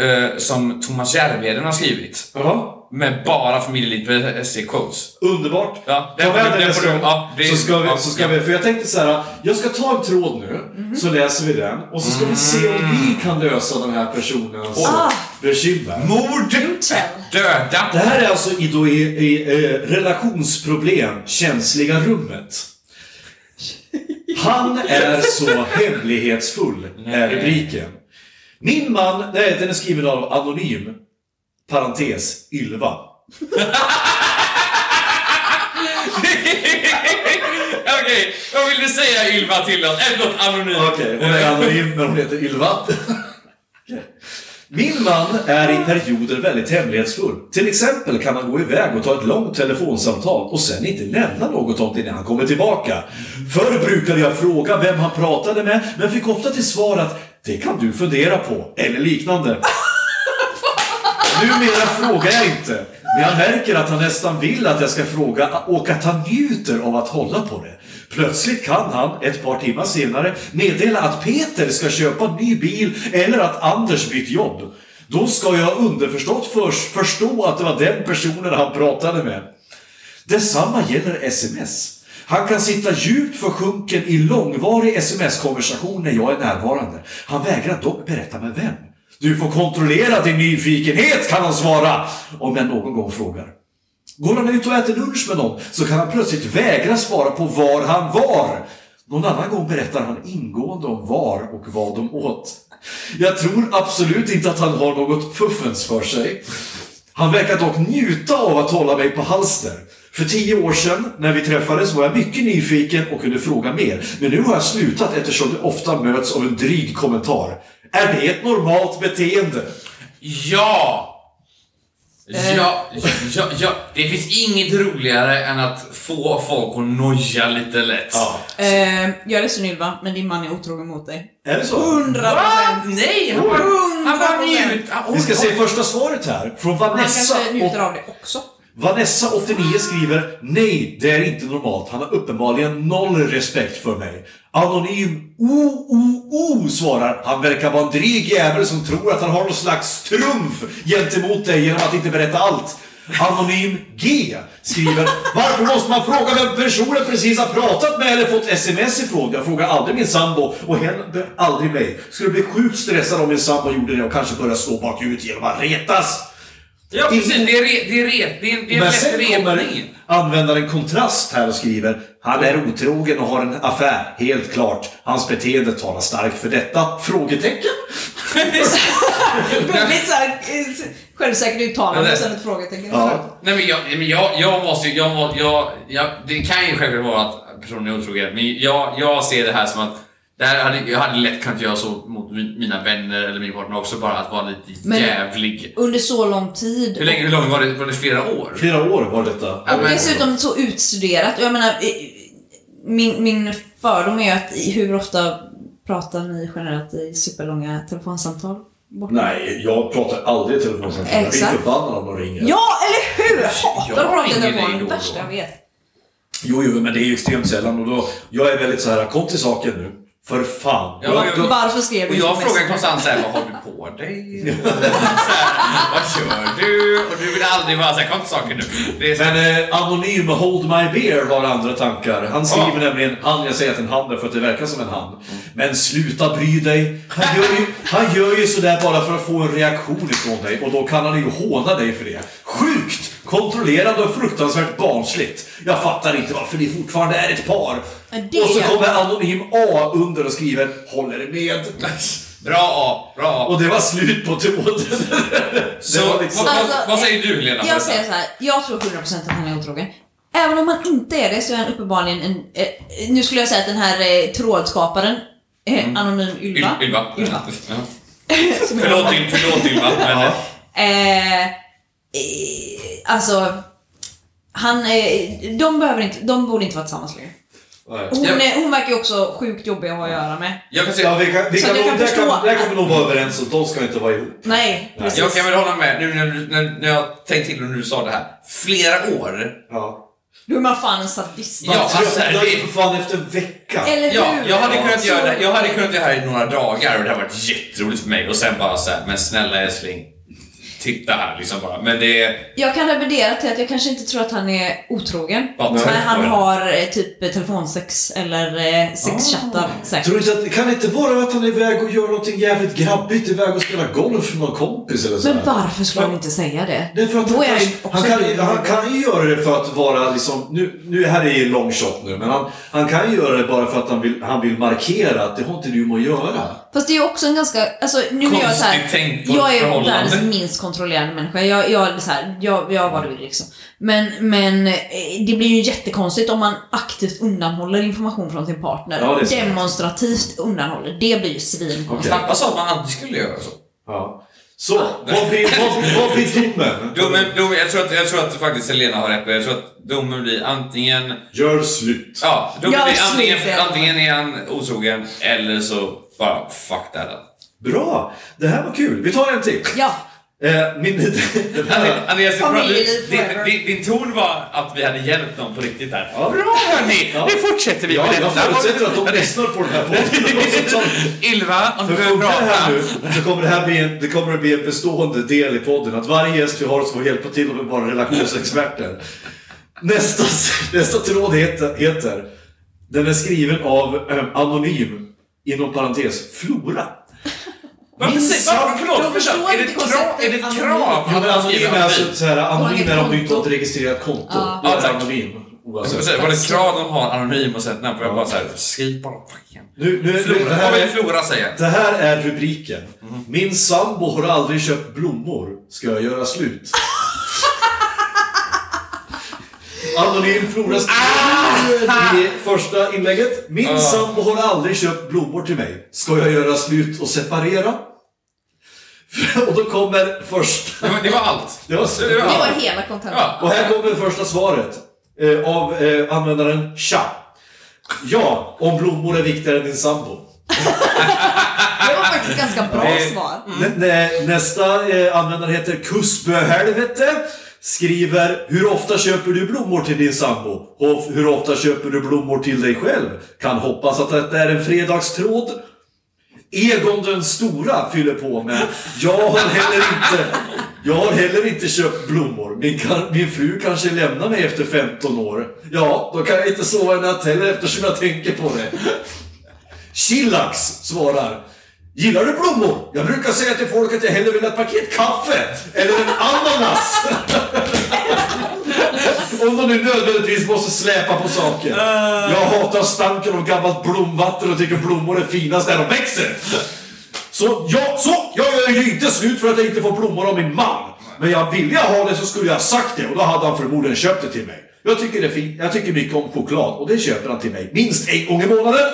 S3: eh, som Thomas Järvheden har skrivit.
S4: jaha.
S3: Med bara familjeliv.se quotes.
S4: Underbart.
S3: Ja,
S4: Ta
S3: den får
S4: med
S3: du-
S4: den
S3: den får
S4: nästa
S3: du-
S4: gång.
S3: ja, det är-
S4: Så ska vi,
S3: ja,
S4: så ska
S3: ja. Mhm.
S4: vi, för jag tänkte så här, jag ska ta en tråd nu, så läser vi den och så ska vi se om
S3: Mm.
S4: vi kan lösa den här personens
S2: Ah.
S4: bekymmer.
S3: Mord! Döda!
S4: Det här är alltså i, då, i, i eh, relationsproblem, känsliga rummet. Han är så hemlighetsfull, är rubriken. Min man, nej den är skriven av Anonym, parentes, Ylva.
S3: Okej, vad vill du säga Ylva till oss? Eller något anonymt.
S4: Okej, hon är anonym men hon heter Ylva. Okej. Min man är i perioder väldigt hemlighetsfull. Till exempel kan han gå iväg och ta ett långt telefonsamtal och sen inte lämna något om det när han kommer tillbaka. Förr brukade jag fråga vem han pratade med, men fick ofta till svar att det kan du fundera på, eller liknande. Numera frågar jag inte. Men jag märker att han nästan vill att jag ska fråga och att han njuter av att hålla på det. Plötsligt kan han, ett par timmar senare, meddela att Peter ska köpa en ny bil eller att Anders bytt jobb. Då ska jag underförstått först förstå att det var den personen han pratade med. Detsamma gäller sms. Han kan sitta djupt försjunken i långvarig sms-konversation när jag är närvarande. Han vägrar dock berätta med vem. Du får kontrollera din nyfikenhet, kan han svara, om jag någon gång frågar. Går han ut och äter lunch med någon så kan han plötsligt vägra svara på var han var. Någon annan gång berättar han ingående om var och vad de åt. Jag tror absolut inte att han har något fuffens för sig. Han verkar dock njuta av att hålla mig på halster. För tio år sedan, när vi träffades, var jag mycket nyfiken och kunde fråga mer. Men nu har jag slutat eftersom det ofta möts av en dryg kommentar. Är det ett normalt beteende?
S3: Ja!
S4: Eh.
S3: Ja, ja, ja, det finns inget roligare än att få folk att noja lite lätt.
S2: Eh, jag är ledsen Ylva, men din man är otrogen mot dig.
S4: Är det så?
S2: 100
S3: Va?
S2: procent!
S3: Ah, Nej! Han bara, han bara njut. Ah, Han-
S4: Vi ska se första svaret här. Från
S2: Han
S4: Vanessa.
S2: kanske njuter
S4: Alltså, Och
S2: av det också.
S4: Vanessa, 89, skriver Nej, det är inte normalt. Han har uppenbarligen noll respekt för mig. Anonym OOO svarar Han verkar vara en dryg jävel som tror att han har någon slags trumf gentemot dig genom att inte berätta allt. Anonym G skriver Varför måste man fråga vem personen precis har pratat med eller fått sms ifrån? Jag frågar aldrig min sambo och hen aldrig mig. Skulle bli sjukt stressad om min sambo gjorde det och kanske börja slå bakut genom att retas.
S3: Ja, precis. Det är, re, det är, re, det är, det är
S4: Men
S3: lätt
S4: sen kommer
S3: repning.
S4: användaren kontrast här och skriver Han är otrogen och har en affär, helt klart. Hans beteende talar starkt för detta? Frågetecken?
S2: Väldigt såhär eh, självsäkert uttalande och sen ett frågetecken.
S4: Ja.
S3: Nej, men jag, men jag, jag måste ju... Jag, må- jag, jag, det kan ju självklart vara att personen är otrogen, men jag, jag ser det här som att det här hade, jag hade lätt kunnat göra så mot mi- mina vänner eller min partner också, bara att vara lite
S2: Men-
S3: jävlig.
S2: Under så lång tid.
S3: Hur länge hur lång var det? Var det flera år?
S4: Flera år var detta.
S3: Ja,
S2: Och
S3: men-
S2: dessutom så utstuderat. Jag menar, eh, min, min fördom är ju att i- hur ofta pratar ni generellt i superlånga telefonsamtal? Bort?
S4: Nej, jag pratar aldrig i telefonsamtal. Jag blir
S2: Exakt.
S4: förbannad om de ringer.
S2: Ja, eller hur? Hatar
S3: Jag
S2: att prata i
S3: ringer dig
S2: telefon.
S3: då
S2: Det
S3: och
S2: värsta
S3: då.
S2: jag vet.
S4: Jo, jo, men det är ju extremt sällan och då... Jag är väldigt så här, kom till saken nu. För fan.
S3: Ja,
S4: Då- då-
S2: Varför skrev
S3: Och
S2: du
S3: jag
S2: inte
S3: frågar
S2: mest?
S3: konstant såhär, vad har du på dig? Så här, vad kör du? Och du vill aldrig vara såhär, kom till saken nu. Det är så här,
S4: Men eh, anonym Hold My Beer har andra tankar. Han skriver
S3: Ja.
S4: nämligen han, jag säger att det är en han därför att det verkar som en han. Men sluta bry dig. Han gör,
S3: (laughs)
S4: ju, han gör ju sådär bara för att få en reaktion ifrån dig och då kan han ju håna dig för det. Sjukt! Kontrollerande och fruktansvärt barnsligt. Jag fattar inte varför ni fortfarande är ett par.
S2: Men det-
S4: Och så kommer Anonym A under och skriver “Håller med”.
S3: Bra A, bra A.
S4: Och det var slut på tråden. (laughs)
S3: Så,
S4: det var liksom-
S3: vad, vad, vad säger du Helena?
S2: Alltså, Jag säger så här, jag tror 100% att han är otrogen. Även om han inte är det så är han uppenbarligen en... Eh, nu skulle jag säga att den här eh, trådskaparen, eh, anonym Ylva.
S3: Mm. Yl- Ylva.
S2: Ylva.
S3: Ja.
S2: (laughs) som jag-
S3: Förlåt, Yl- förlåt Ylva, men eh,
S2: Eh, eh, alltså, han, eh, de, behöver inte, de borde inte vara tillsammans längre. Hon,
S3: Jag-
S2: eh, hon verkar ju också sjukt jobbig att ha att göra med.
S3: jag kan
S4: Ja,
S3: säga...
S4: vi kan, vi
S2: Så
S4: kan,
S2: du
S4: nog-
S2: kan
S4: där
S2: förstå.
S4: kan, där kan vi nog vara överens om de ska inte vara ihop.
S2: Nej, precis.
S3: Jag kan väl hålla med, nu när, du- när, när jag tänkte till och när du sa det här. Flera år.
S4: Ja.
S2: Då är man fan en sadist.
S3: Ja,
S4: Man
S3: alltså,
S4: tröttnar
S3: det-
S4: ju för fan efter en vecka.
S2: Eller hur?
S3: Ja, jag hade kunnat
S2: Så-
S3: göra det, jag hade kunnat göra det här i några dagar och det hade varit jätteroligt för mig. Och sen bara så här, men snälla älskling. Titta här liksom bara. Men det...
S2: Jag kan revidera till att jag kanske inte tror att han är otrogen.
S3: Ja,
S2: men
S3: nej.
S2: han har eh, typ eh, telefonsex eller eh, sexchattar
S3: Ah.
S2: säkert.
S4: Tror du inte att, kan det inte vara att han är iväg och gör någonting jävligt grabbigt? Iväg och spelar golf med någon kompis eller sådär?
S2: Men varför skulle han inte säga det?
S4: Det är för att
S2: Då
S4: han,
S2: är han,
S4: kanske-
S2: ju också
S4: han, kan,
S2: dum.
S4: han kan ju göra det för att vara liksom, nu, nu här är en long shot nu, men han, han kan ju göra det bara för att han vill, han vill markera att det har inte du med att göra.
S2: Fast det är ju också en ganska, alltså nu när jag är såhär,
S3: Konstigt tänkt på ett
S2: jag är
S3: förhållande.
S2: världens minst kontrollerande människa. Jag, jag är såhär, jag, jag vad du vill liksom. Men, men eh, det blir ju jättekonstigt om man aktivt undanhåller information från sin partner.
S4: Ja, det är så.
S2: Demonstrativt undanhåller. Det blir ju svinkonstigt.
S4: Okej.
S3: Pappa sa att man aldrig skulle göra så.
S4: Ja. Så, vad blir, vad, blir- vad blir domen?
S3: Domen, dom, jag, tror att, jag tror att faktiskt Helena har rätt. Jag tror att domen blir antingen...
S4: Gör slut.
S3: Ja, domen
S2: Jag
S3: blir
S2: slutar.
S3: antingen, antingen är han otrogen eller så bara fuck that up.
S4: Bra! Det här var kul. Vi tar en till.
S2: Ja.
S4: Eh, min, (laughs) den här,
S3: Andreas, Andreas det är alltså, bra.
S2: Familjeliv
S3: din,
S2: forever.
S3: din, din ton var att vi hade hjälpt någon på riktigt där.
S4: Ja.
S3: Bra hörni!
S4: Ja.
S3: Nu fortsätter vi
S4: Ja,
S3: med
S4: jag
S3: detta.
S4: förutsätter att de lyssnar på den här (laughs) podden. Och så-
S3: Ylva, om
S4: För
S3: du börjar
S4: funkar det här
S3: prata.
S4: nu, så kommer det här bli en, det kommer att bli en bestående del i podden. Att varje gäst vi har som får hjälpa till med vara relationsexperter. Nästa, (laughs) nästa tråd heter, heter, den är skriven av eh, Anonym, inom parentes, Flora.
S3: Varför säger varför-
S2: Jag
S3: Förlåt,
S2: förstår
S3: förlåt. Är det
S2: inte
S3: ett krav? Är det ett
S2: konceptet
S3: krav?
S4: Jo, men
S3: att man skriver
S4: anonym är alltså
S3: anonym?
S4: så här, anonym
S2: inget
S4: är om du inte
S2: konto.
S4: har ett registrerat konto.
S2: Ja.
S4: Då är
S3: Ja,
S4: det
S3: tack.
S4: anonym.
S3: Alltså,
S4: Oavsett.
S3: precis, Var det ett krav de har anonym och sen namn? För jag bara såhär, skriv bara fucking.
S4: Nu, nu, nu, det
S3: Flora.
S4: här
S3: Vad vill
S4: är,
S3: Flora säga?
S4: Det här är rubriken. Min sambo har aldrig köpt blommor. Ska jag göra slut? Anonym Flora skriver i första inlägget. Min sambo har aldrig köpt blommor till mig. Ska jag göra slut och separera? (laughs) och då kommer första... (laughs)
S3: Det var, det var allt.
S4: Det var
S3: Det
S2: Det
S3: var
S2: var
S3: allt.
S2: hela kontentan.
S3: Ja.
S4: Och här kommer det första svaret eh, av eh, användaren Tja. Ja, om blommor är viktigare än din sambo.
S2: Det var faktiskt ett ganska bra
S4: Eh,
S2: svar.
S4: Nä- nä- Nästa eh, användare heter Kussböhelvete. Skriver “Hur ofta köper du blommor till din sambo? Och f- hur ofta köper du blommor till dig själv? Kan hoppas att detta är en fredagstråd.” Egon den stora fyller på med “Jag har heller inte, jag har heller inte köpt blommor. Min, kan, min fru kanske lämnar mig efter 15 år. Ja, då kan jag inte sova en natt heller eftersom jag tänker på det.” Chillax svarar Gillar du blommor? Jag brukar säga till folk att jag hellre vill ha ett paket kaffe eller en ananas. Om de nu nödvändigtvis måste släpa på saker. Jag hatar stanken av gammalt blomvatten och tycker blommor är finast när de växer. Så jag, så, jag gör ju inte slut för att jag inte får blommor av min man. Men jag ville jag ha det så skulle jag ha sagt det och då hade han förmodligen köpt det till mig. Jag tycker, det är fint. jag tycker mycket om choklad och det köper han till mig minst en gång i månaden.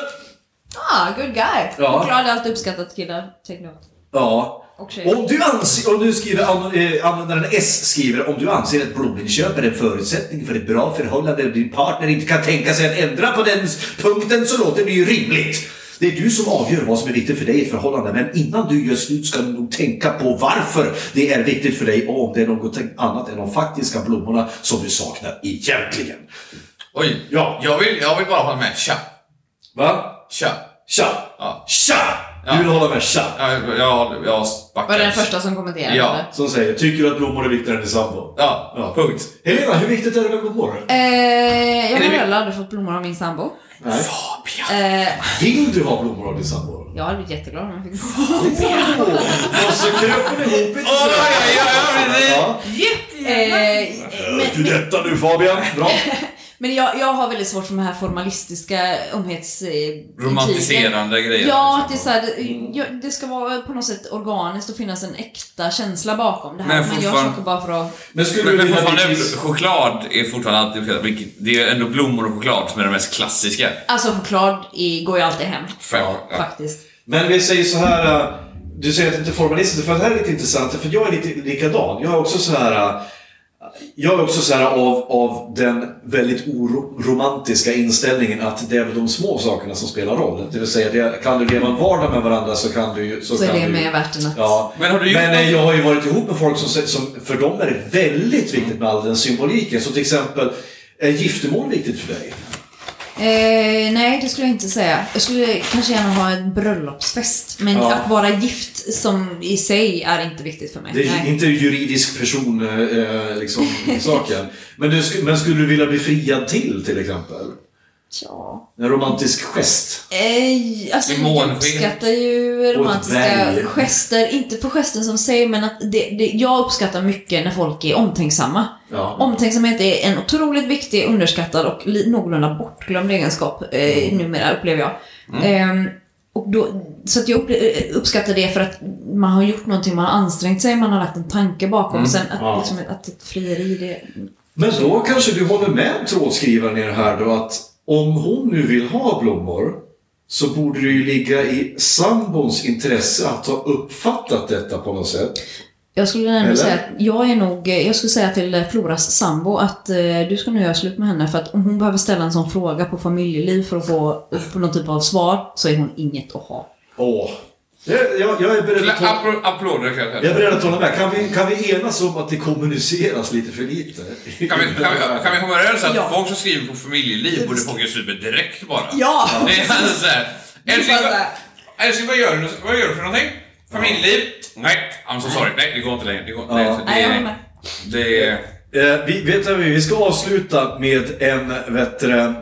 S2: Ah, good guy.
S4: Ja.
S2: Choklad är alltid uppskattat killar. Take note.
S4: Ja.
S2: Och tjejer.
S4: Om du anser, och nu skriver an- eh, användaren S skriver, om du anser att blominköp är en förutsättning för ett bra förhållande och din partner inte kan tänka sig att ändra på den s- punkten så låter det ju rimligt. Det är du som avgör vad som är viktigt för dig i ett förhållande, men innan du gör slut ska du nog tänka på varför det är viktigt för dig och om det är något annat än de faktiska blommorna som du saknar egentligen.
S3: Oj,
S4: Ja.
S3: jag, vill, jag vill bara hålla med. Tja,
S4: Va?
S3: tja,
S4: Tja!
S3: Ja.
S4: Tja!
S3: Ja.
S4: Du vill hålla med tja?
S3: Ja, Jag, jag, jag backar.
S2: Var det den första som kommenterade?
S3: Ja.
S2: eller?
S4: Som säger, tycker du att blommor är viktigare än din sambo?
S3: Ja,
S4: Ja.
S3: punkt.
S4: Helena, hur viktigt är det med blommor?
S2: Eh, jag
S3: Är det
S2: har
S3: vi-
S2: heller aldrig fått blommor av min sambo.
S4: Nej.
S2: Eh,
S4: Vill du ha blommor av din sambo?
S2: jag hade blivit jätteglad om jag fick
S4: Och så kröp hon ihop lite
S3: Åh, ja, ja, ja, precis.
S4: Ja.
S2: eh,
S4: Hör Äh, du detta nu Fabian? Bra.
S2: Men jag, jag har väldigt svårt för de här formalistiska umhets... eh,
S3: Romantiserande grejer.
S2: Ja, det,
S3: liksom.
S2: är så här, det, ja, det ska vara på något sätt organiskt och finnas en äkta känsla bakom det här. Men,
S3: Men
S2: jag
S3: fortfarande-
S2: försöker bara för att...
S4: Men skulle
S3: Men,
S4: du
S3: men
S4: vilja...
S3: fortfarande, choklad är fortfarande alltid fel. Vilket- Det är ändå blommor och choklad som är det mest klassiska.
S2: Alltså choklad i, går ju alltid hem.
S3: Fem. Ja.
S2: Faktiskt.
S4: Men vi säger så här. äh, Du säger att det inte är formalistiskt, för det här är lite intressant. För jag är lite likadan. Jag är också så här. äh, Jag är också så här av, av den väldigt oromantiska inställningen att det är väl de små sakerna som spelar roll. Det vill säga, det, kan du leva en vardag med varandra så kan du ju...
S2: Så är
S4: kan
S2: det
S4: du,
S2: med värt en natt.
S4: Ja.
S3: Men har du gjort
S4: Men eh,
S3: något-
S4: jag har ju varit ihop med folk som, sä- som för dem är det väldigt viktigt med all den symboliken. Så till exempel, är giftermål viktigt för dig?
S2: Eh, nej, det skulle jag inte säga. Jag skulle kanske gärna ha en bröllopsfest. Men
S4: Ja.
S2: att vara gift som i sig är inte viktigt för mig.
S4: Det är ju
S2: nej.
S4: inte juridisk person eh, liksom, i saken. Men, du, sk- men skulle du vilja bli friad till, till exempel?
S2: Tja.
S4: En romantisk gest?
S2: Eh, alltså,
S3: I
S2: jag
S3: månsken.
S2: uppskattar ju
S4: Och ett
S2: romantiska
S4: väl.
S2: gester. Inte för gesten som sig, men att det, det, jag uppskattar mycket när folk är omtänksamma.
S4: Ja.
S2: Omtänksamhet är en otroligt viktig, underskattad och li- någorlunda bortglömd egenskap
S4: Mm.
S2: eh, numera, upplever jag. Ehm, och då, så att jag upple- eh, uppskattar det för att man har gjort någonting, man har ansträngt sig, man har lagt en tanke bakom. Och sen att,
S4: Mm. Ja.
S2: liksom, att ett frieri, det...
S4: Men då kanske du håller med trådskrivaren i det här då att om hon nu vill ha blommor så borde det ju ligga i sambons intresse att ha uppfattat detta på något sätt.
S2: Jag skulle ändå
S4: Eller?
S2: säga att jag är nog, eh, jag skulle säga till Floras sambo att eh, du ska nu göra slut med henne för att om hon behöver ställa en sån fråga på familjeliv för att få, få någon typ av svar så är hon inget att ha.
S4: Åh, jag, jag, jag är beredd att hålla-
S3: Appro- Applåder kanske.
S4: jag är beredd att hålla med. Kan vi, kan vi enas om att det kommuniceras lite för lite?
S3: Kan vi, kan, vi, kan vi komma överens att
S2: Ja.
S3: folk som skriver på familjeliv borde få en super direkt bara?
S2: Ja!
S3: Det är alltså såhär... Älskling,
S2: bara
S3: vad-
S2: så här.
S3: älskling, vad gör du? Vad gör du för någonting? Familjeliv?
S4: Mm.
S3: Nej, I'm so sorry. Nej, det går inte längre. Det går, nej, så det,
S2: Nej, jag håller med.
S3: det är...
S4: Eh, vi, vet du, vad, vi ska avsluta med en, vet du, det,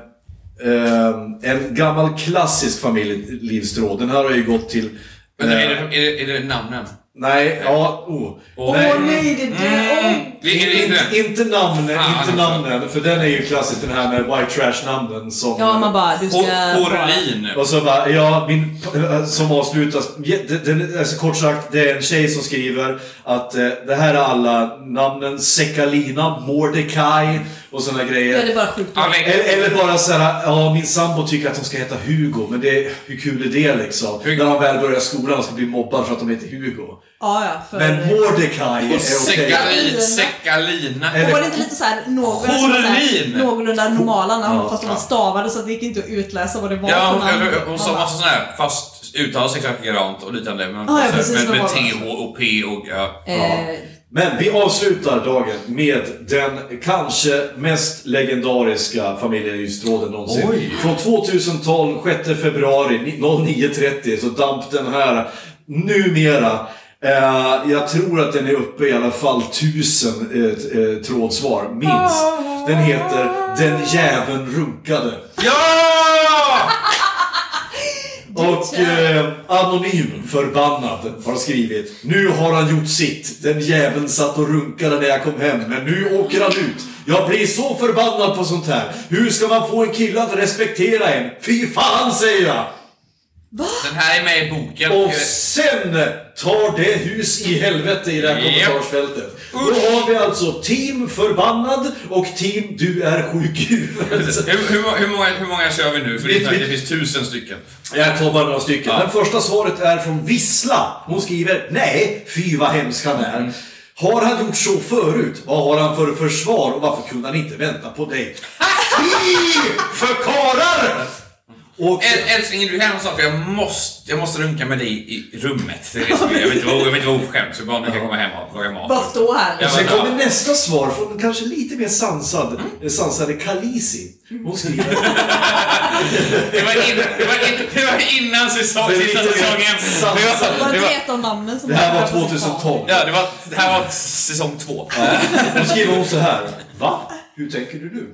S4: eh, en gammal klassisk familjelivstråd. Den här har ju gått till...
S3: Vänta,
S4: eh,
S3: är det, är det, är det namnen?
S4: Nej, ja, oh.
S3: Åh,
S4: nej,
S2: nej, det är
S3: Det är det inte.
S4: inte, inte namnen,
S3: Fan,
S4: inte
S3: alltså.
S4: namnen. För den är ju klassisk, den här med white trash-namnen som...
S2: Ja, man bara, du ska...
S3: Hor-
S2: bara-
S3: Horlin.
S4: Och så bara, ja, min, eh, som avslutas, det- det- alltså kort sagt, det är en tjej som skriver att eh, det här är alla namnen, Sekalina, Mordecai och sådana grejer.
S2: Ja, det är bara sjukt.
S3: Alex.
S4: Eller, eller bara så här, ja min sambo tycker att de ska heta Hugo, men det, hur kul är det liksom?
S3: Hugo.
S4: När de väl börjar skolan och ska bli mobbad för att de heter Hugo.
S2: Ja, ja, för...
S4: Men Mordecai är okej.
S3: Sekali- Sekalina.
S4: Eller-
S2: var det inte lite såhär någorlunda, som var så
S3: Horlin.
S2: här, någorlunda normala namn
S4: Ja,
S2: fast de
S4: ja.
S2: var stavade så att det gick inte att utläsa vad det var
S3: Ja,
S2: för
S3: hon,
S2: namn?
S3: hon, hon sa
S2: Man bara,
S3: massa sådana här, fast uttalas exakt likadant och liknande. Men,
S2: ja,
S3: så här,
S2: precis,
S3: med,
S2: vad
S3: med
S2: var det?
S3: TH och P och... Ja.
S2: eh,
S4: Men vi avslutar dagen med den kanske mest legendariska familjelivstråden någonsin.
S3: Oj.
S4: Från 2012, 6 februari ni- 09.30 så damp den här numera. Eh, jag tror att den är uppe i alla fall tusen eh, t- eh, trådsvar, minst. Den heter Den jäveln runkade.
S3: ja!
S4: Och eh, Anonym Förbannad har skrivit Nu har han gjort sitt. Den jäveln satt och runkade när jag kom hem, men nu åker han ut. Jag blir så förbannad på sånt här. Hur ska man få en kille att respektera en? Fy fan säger jag!
S3: Den här är med i boken.
S4: Och sen tar det hus i helvete i det här
S3: Japp.
S4: kommentarsfältet. Då har vi alltså Team Förbannad och Team Du är sjuk i huvudet.
S3: Hur, hur, hur, många, hur många kör vi nu? För det, är
S4: Vi-
S3: så här,
S4: vi-
S3: det finns tusen stycken.
S4: Jag tar bara några stycken.
S3: Ja.
S4: Den första svaret är från Vissla. Hon skriver Nej, fy vad hemsk han
S3: Mm.
S4: är. Har han gjort så förut? Vad har han för försvar och varför kunde han inte vänta på dig? Fy för karlar! Och-
S3: Äl- Älskling, du kan snart för jag måste, jag måste runka med dig i rummet. Det är så-
S4: (laughs)
S3: Jag vill inte vara jag vill inte vara oförskämd, så barnen kan komma hem och laga mat.
S2: Bara stå här.
S3: Ja,
S4: Sen
S3: men-
S4: kommer nästa svar från kanske lite mer sansad,
S3: Mm.
S4: sansade Kalisi. Hon skriver...
S3: Det var innan, det var innan, det var innan säsong,
S4: Det är
S3: sista
S4: lite
S3: säsongen.
S4: sant.
S3: Det var,
S2: Bara
S3: det var,
S2: vet om namnen som
S4: Det här var
S2: som
S4: 2012.
S3: ja, det var, det här var säsong två.
S4: Då skriver hon så här. Va? Hur tänker du nu?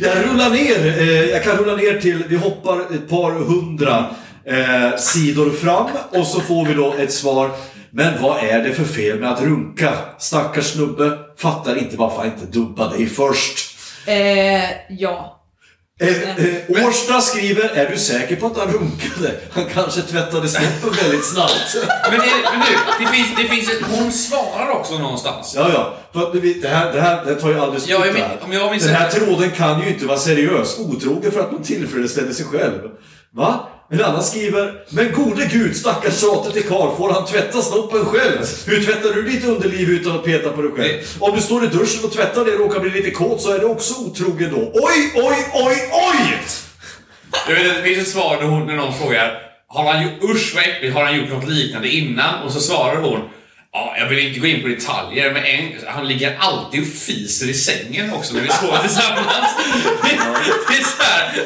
S4: jag rullar ner. Eh, jag kan rulla ner till, vi hoppar ett par hundra eh, sidor fram och så får vi då ett svar. Men vad är det för fel med att runka? Stackars snubbe, fattar inte varför jag inte dubba dig först.
S2: Eh, ja.
S4: Eh, eh, Årsta skriver, är du säker på att han runkade? Han kanske tvättade snoppen väldigt snabbt.
S3: Men, det, men nu, det finns, det finns ett, hon svarar också någonstans.
S4: Ja, ja. För att vi, det, här, det, här, det här tar ju aldrig slut.
S3: Ja, jag
S4: det
S3: min-
S4: här.
S3: om jag minns
S4: Den här
S3: rätt-
S4: tråden kan ju inte vara seriös. Otrogen för att man tillfredsställer sig själv. Va? En annan skriver, men gode gud, stackars tjatet i karl, får han tvätta snoppen själv? Hur tvättar du ditt underliv utan att peta på dig själv? Om du står i duschen och tvättar det och råkar bli lite kåt så är du också otrogen då. Oj, oj, oj, oj!
S3: Jag vet, att det finns ett svar när, hon, när någon frågar har han gjort, usch vad äckligt, har han gjort något liknande innan? Och så svarar hon Ja, jag vill inte gå in på detaljer, men en, han ligger alltid och fiser i sängen också när vi sover tillsammans. (laughs) Det, det är så här.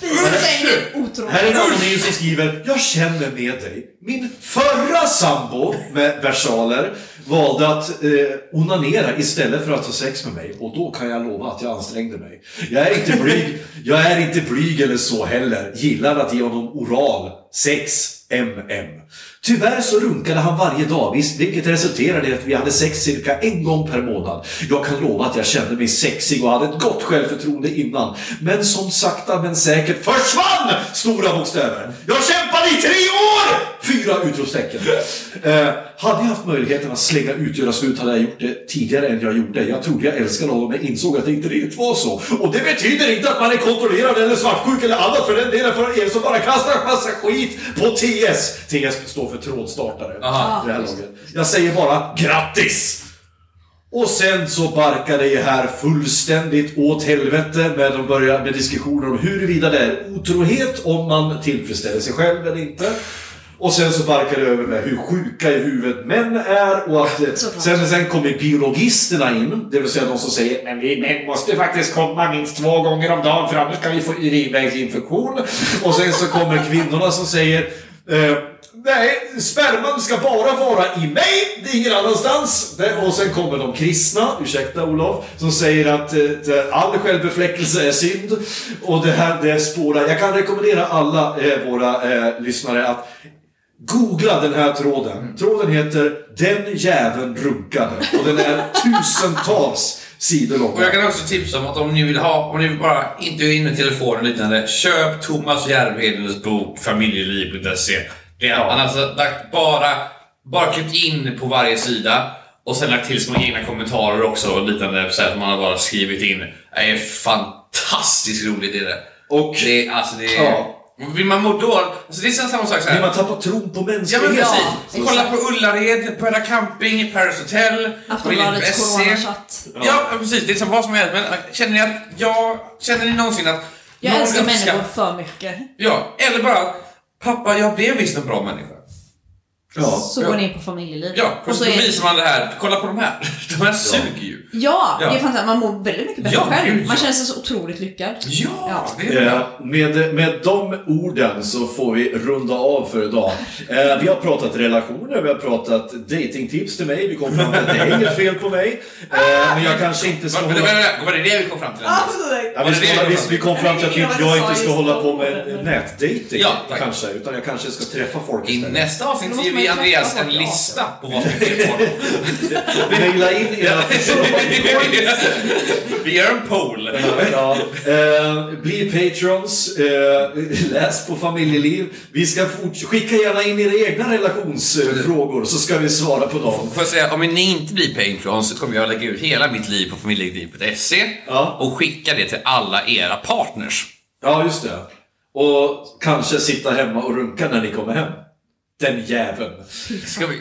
S2: Fint säger
S4: Här är en
S2: otroligt.
S4: anonym som skriver Jag känner med dig. Min förra sambo med versaler valde att eh, onanera istället för att ha sex med mig och då kan jag lova att jag ansträngde mig. Jag är inte blyg, jag är inte blyg eller så heller. Gillar att ge honom oral sex MM. Tyvärr så runkade han varje dag, visst, vilket resulterade i att vi hade sex cirka en gång per månad. Jag kan lova att jag kände mig sexig och hade ett gott självförtroende innan. Men som sakta men säkert försvann! Stora bokstäver. Jag kämpade i tre år! Fyra utropstecken. Eh, hade jag haft möjligheten att slänga ut, göra slut, hade jag gjort det tidigare än jag gjorde. Jag trodde jag älskade honom, men insåg att det inte riktigt var så. Och det betyder inte att man är kontrollerad eller svartsjuk eller annat för den delen för er som bara kastar massa skit på TS. TS står för trådstartare.
S3: Aha.
S4: i Det här laget. Jag säger bara grattis! Och sen så barkade det här fullständigt åt helvete med de började med diskussioner om huruvida det är otrohet, om man tillfredsställer sig själv eller inte. Och sen så barkade det över med hur sjuka i huvudet män är och att... eh,
S2: Såklart.
S4: Sen, sen kommer biologisterna in, det vill säga de som säger men vi män måste faktiskt komma minst två gånger om dagen för annars kan vi få urinvägsinfektion. Och sen så kommer kvinnorna som säger eh, Nej, sperman ska bara vara i mig, det är ingen annanstans. Det- Och sen kommer de kristna, ursäkta Olof, som säger att eh, det- all självbefläckelse är synd. Och det här, det spårar. Jag kan rekommendera alla eh, våra eh, lyssnare att Googla den här
S3: Mm.
S4: tråden. Tråden heter Den jäveln runkade och den är tusentals sidor lång.
S3: Och jag kan också tipsa om att om ni vill ha, om ni vill bara inte är inne i telefonen och liknande, köp Thomas Järvhedens bok Familjeliv.se. Det är, Han har alltså lagt bara, bara klippt in på varje sida och sen lagt till små egna kommentarer också och liknande så här som han har bara skrivit in. Det är fantastiskt roligt är det.
S4: Och-
S3: det är, alltså det är,
S4: Ja.
S3: Vill man må dåligt, alltså det är samma sak så här.
S4: När man tappar tron på
S3: Ja men
S4: mänskligheten.
S3: precis.
S2: Ja,
S3: Kolla
S2: exakt.
S3: på Ullared, Pöda Camping, Paris Hotel,
S2: Aftonbladets
S3: Familjen Bessie.
S2: coronachatt.
S3: Ja, ja, precis. Det är som vad som helst. Men äh, känner ni att jag... Känner ni någonsin att...
S2: Jag
S3: någon
S2: älskar
S3: uppskatt-
S2: människor för mycket.
S3: Ja, eller bara att, Pappa, jag blev visst en bra människa.
S4: Ja.
S2: Så går ni in på familjeliv.
S3: Ja, och så
S2: är-
S3: visar man det här. Kolla på de här. (laughs) De här suger ju.
S2: Ja, det
S3: Ja.
S2: är fantastiskt. Man mår väldigt mycket bättre
S3: Ja,
S2: själv.
S3: gud,
S2: Man
S3: ja.
S2: känner sig så otroligt lyckad.
S3: Ja,
S2: Ja.
S3: det är
S4: Eh, Med, med de orden så får vi runda av för idag. Eh, vi har pratat relationer, vi har pratat datingtips till mig, vi kom fram till att det är inget fel på mig. Eh, men jag kanske inte ska
S3: Var, var,
S4: hålla...
S3: var, var det det vi kom fram till? Andreas?
S4: Ja, vi, ska, vi, vi kom fram till att jag- jag inte ska hålla på med nätdating
S3: Ja, tack.
S4: kanske, utan jag kanske ska träffa folk
S3: I
S4: istället.
S3: nästa avsnitt
S2: Då
S3: ger
S2: måste man
S3: vi
S2: ju
S3: Andreas
S2: träffa
S3: en
S2: folk, ja.
S3: lista på vad som är fel
S2: (laughs)
S3: på honom.
S4: Maila in era förslag.
S3: Vi gör en poll.
S4: Ja, eh, bli patrons, eh, läs på familjeliv. Vi ska fort- skicka gärna in era egna relationsfrågor så ska vi svara på dem.
S3: Får jag säga, om ni inte blir Patreons så kommer jag lägga ut hela mitt liv på familjeliv.se
S4: Ja.
S3: och skicka det till alla era partners.
S4: Ja, just det. Och kanske sitta hemma och runka när ni kommer hem. Den jäveln.
S3: Ska, vi,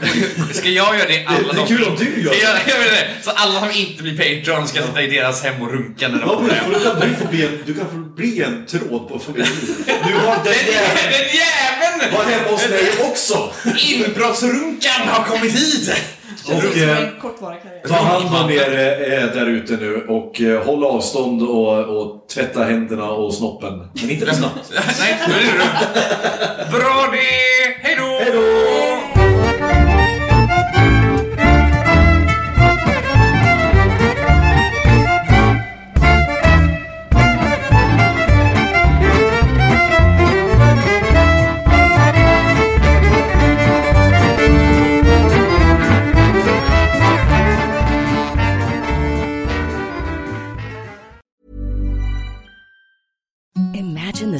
S3: ska jag göra det? Alla
S4: Det är
S3: de-
S4: kul om du gör det.
S3: Jag, jag menar det. Så alla som inte blir Patreon ska sitta i deras hem och runka när de
S4: Ja, men
S3: kommer
S4: du,
S3: hem.
S4: får, du, får bli en, du kan få bli en tråd på familjen. Du har den
S3: Den jä- (laughs)
S4: jäveln.
S3: den jäveln!
S4: Var hemma hos dig också.
S3: Inbrottsrunkan har kommit hit!
S4: Och,
S2: Det var
S4: eh,
S2: en kortvarig karriär.
S4: Ta hand om er eh, där ute nu och eh, håll avstånd och, och tvätta händerna och snoppen. Men inte för snabbt.
S3: Nej, nu är det du. Bra det! Hej då!
S4: Hej då!
S6: Imagine the